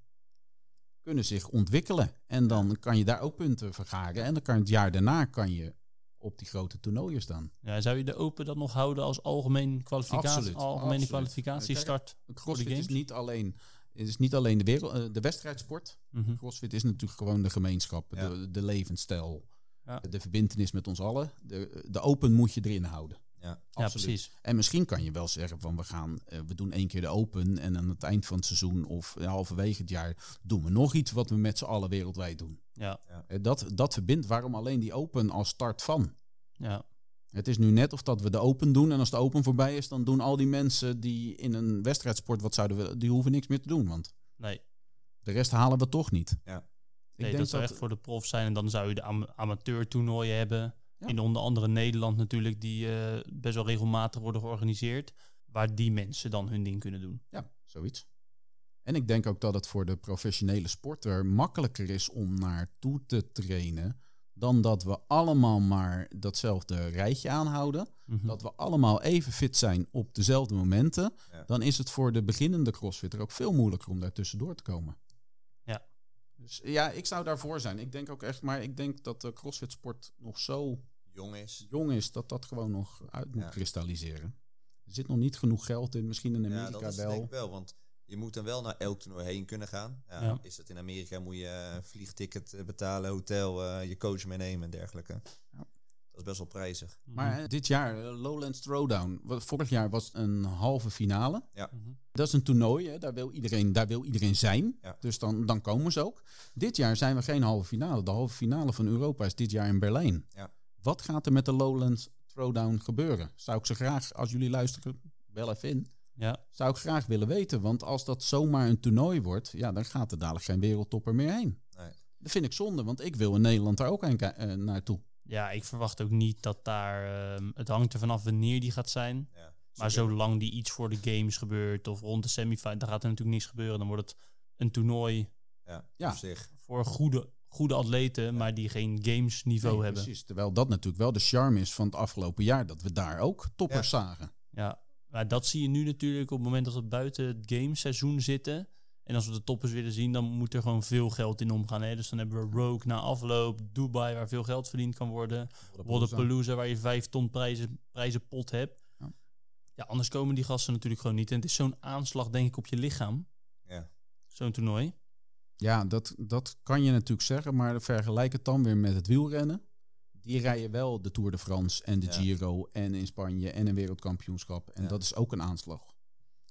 Speaker 1: kunnen zich ontwikkelen. En dan kan je daar ook punten vergaren. En dan kan het jaar daarna kan je op die grote toernooien staan.
Speaker 3: Ja, zou je de Open dan nog houden als algemeen kwalificatie,
Speaker 1: Absoluut,
Speaker 3: algemene
Speaker 1: absoluut.
Speaker 3: kwalificatiestart?
Speaker 1: CrossFit
Speaker 3: games?
Speaker 1: is niet alleen, is niet alleen de, wereld, eh, de wedstrijdsport.
Speaker 3: Mhm.
Speaker 1: CrossFit is natuurlijk gewoon de gemeenschap,
Speaker 2: Ja.
Speaker 1: de, de levensstijl,
Speaker 3: Ja.
Speaker 1: de verbindenis met ons allen. De, de open moet je erin houden.
Speaker 2: Ja.
Speaker 3: Ja,
Speaker 1: Absoluut.
Speaker 3: precies.
Speaker 1: En misschien kan je wel zeggen van we gaan, eh, we doen één keer de open en aan het eind van het seizoen of halverwege het jaar doen we nog iets wat we met z'n allen wereldwijd doen.
Speaker 3: Ja,
Speaker 1: Eh, Dat, dat verbindt waarom alleen die open als start van.
Speaker 3: ja.
Speaker 1: Het is nu net of dat we de open doen en als de open voorbij is, dan doen al die mensen die in een wedstrijdsport wat zouden willen, die hoeven niks meer te doen, want
Speaker 3: Nee,
Speaker 1: de rest halen we toch niet.
Speaker 2: Ja.
Speaker 1: Ik
Speaker 3: nee dat zou echt voor de prof zijn. En dan zou je de am amateurtoernooien hebben.
Speaker 1: Ja.
Speaker 3: In onder andere Nederland natuurlijk, die eh, best wel regelmatig worden georganiseerd. Waar die mensen dan hun ding kunnen doen.
Speaker 1: Ja, zoiets. En ik denk ook dat het voor de professionele sporter makkelijker is om naartoe te trainen. Dan dat we allemaal maar datzelfde rijtje aanhouden.
Speaker 2: Hm.
Speaker 3: Mhm.
Speaker 1: Dat we allemaal even fit zijn op dezelfde momenten.
Speaker 2: Ja.
Speaker 1: Dan is het voor de beginnende crossfitter ook veel moeilijker om daar tussendoor te komen.
Speaker 3: Ja.
Speaker 1: Dus ja, ik zou daarvoor zijn. Ik denk ook echt, maar ik denk dat de crossfitsport nog zo
Speaker 2: Jong is.
Speaker 1: jong is dat dat gewoon nog uit moet
Speaker 2: Ja.
Speaker 1: kristalliseren. Er zit nog niet genoeg geld in, misschien in
Speaker 2: Ja,
Speaker 1: Amerika
Speaker 2: dat is het
Speaker 1: wel.
Speaker 2: denk ik wel, want je moet dan wel naar elk toernooi heen kunnen gaan. Ja,
Speaker 3: Ja.
Speaker 2: Is dat in Amerika, moet je een vliegticket eh, betalen, hotel, eh, je coach meenemen en dergelijke.
Speaker 1: Ja.
Speaker 2: Dat is best wel prijzig.
Speaker 1: Maar eh, dit jaar, eh, Lowlands Throwdown. Wat- Vorig jaar was een halve finale.
Speaker 3: Mhm.
Speaker 1: Dat is een toernooi, hè? Daar, wil iedereen, daar wil iedereen zijn.
Speaker 2: Ja.
Speaker 1: Dus dan, dan komen ze ook. Dit jaar zijn we geen halve finale. De halve finale van Europa is dit jaar in Berlijn.
Speaker 2: Ja.
Speaker 1: Wat gaat er met de Lowlands Throwdown gebeuren? Zou ik ze graag, als jullie luisteren, wel even in.
Speaker 3: Ja,
Speaker 1: Zou ik graag willen weten. Want als dat zomaar een toernooi wordt, ja, dan gaat er dadelijk geen wereldtopper meer heen.
Speaker 2: Nee.
Speaker 1: Dat vind ik zonde, want ik wil in Nederland daar ook heen ki- eh, naartoe.
Speaker 3: ja, ik verwacht ook niet dat daar... ehm, het hangt er vanaf wanneer die gaat zijn.
Speaker 2: Ja.
Speaker 3: Maar zolang die iets voor de games gebeurt of rond de semifinal, dan gaat er natuurlijk niks gebeuren. Dan wordt het een toernooi
Speaker 2: Ja,
Speaker 1: Ja.
Speaker 2: op zich.
Speaker 3: voor goede, goede atleten, maar die geen games niveau
Speaker 1: Nee,
Speaker 3: hebben.
Speaker 1: Precies, terwijl dat natuurlijk wel de charme is van het afgelopen jaar, dat we daar ook toppers zagen.
Speaker 3: Ja, maar dat zie je nu natuurlijk op het moment dat we buiten het gameseizoen zitten. En als we de toppers willen zien, dan moet er gewoon veel geld in omgaan. Hè? Dus dan hebben we Rogue na afloop, Dubai waar veel geld verdiend kan worden. Wodapalooza waar je vijf ton prijzen, prijzen pot hebt.
Speaker 1: Ja.
Speaker 3: Ja, anders komen die gasten natuurlijk gewoon niet. En het is zo'n aanslag denk ik op je lichaam,
Speaker 2: Ja.
Speaker 3: zo'n toernooi.
Speaker 1: Ja, dat, dat kan je natuurlijk zeggen, maar vergelijk het dan weer met het wielrennen. Die rijden wel de Tour de France en de
Speaker 2: Ja.
Speaker 1: Giro en in Spanje en een wereldkampioenschap. En
Speaker 2: Ja.
Speaker 1: dat is ook een aanslag.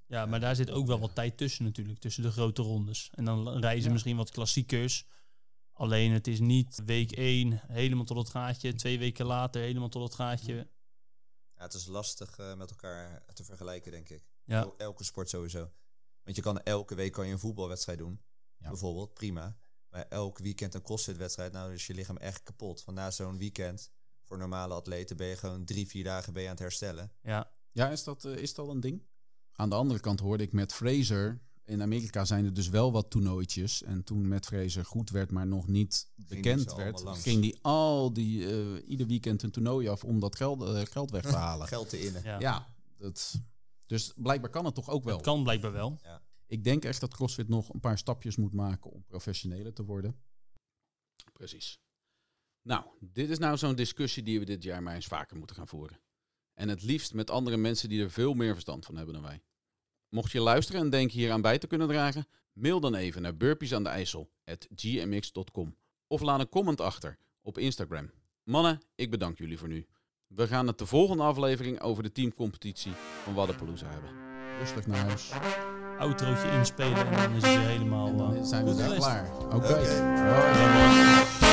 Speaker 3: Ja, maar daar zit ook wel
Speaker 1: Ja.
Speaker 3: wat tijd tussen natuurlijk, tussen de grote rondes. En dan rijden ze
Speaker 1: Ja.
Speaker 3: misschien wat klassiekers. Alleen het is niet week 1 helemaal tot het gaatje, twee weken later helemaal tot het gaatje.
Speaker 2: Ja, het is lastig eh, met elkaar te vergelijken, denk ik.
Speaker 3: Ja.
Speaker 2: El- Elke sport sowieso. Want je kan elke week kan je een voetbalwedstrijd doen.
Speaker 1: Ja.
Speaker 2: Bijvoorbeeld, prima. Maar elk weekend een crossfitwedstrijd, nou is je lichaam echt kapot. Want na zo'n weekend, voor normale atleten, ben je gewoon drie, vier dagen ben je aan het herstellen.
Speaker 3: Ja,
Speaker 1: Ja, is dat, eh, is dat een ding? Aan de andere kant hoorde ik met Fraser. In Amerika zijn er dus wel wat toernooitjes. En toen met Fraser goed werd, maar nog niet
Speaker 2: die
Speaker 1: bekend
Speaker 2: ze
Speaker 1: werd,
Speaker 2: allemaal langs.
Speaker 1: ging die al die eh, ieder weekend een toernooi af om dat geld, eh, geld weg te halen.
Speaker 2: Geld te innen.
Speaker 3: ja.
Speaker 1: Ja, dat, dus blijkbaar kan het toch ook wel.
Speaker 3: het kan blijkbaar wel.
Speaker 1: Ik denk echt dat CrossFit nog een paar stapjes moet maken om professioneler te worden. Precies. Nou, dit is nou zo'n discussie die we dit jaar maar eens vaker moeten gaan voeren. En het liefst met andere mensen die er veel meer verstand van hebben dan wij. Mocht je luisteren en denken hier aan bij te kunnen dragen, mail dan even naar burpees aan de IJssel gmx.com of laat een comment achter op Instagram. Mannen, ik bedank jullie voor nu. We gaan het de volgende aflevering over de teamcompetitie van Waddenpalooza hebben. Rustig naar huis.
Speaker 3: Outrootje inspelen en dan is het weer helemaal...
Speaker 1: En
Speaker 3: eh,
Speaker 1: dan zijn we
Speaker 3: goed
Speaker 1: daar
Speaker 3: geweest.
Speaker 1: klaar. Oké.
Speaker 2: Oké.
Speaker 1: Hoi.
Speaker 3: Ja, mooi.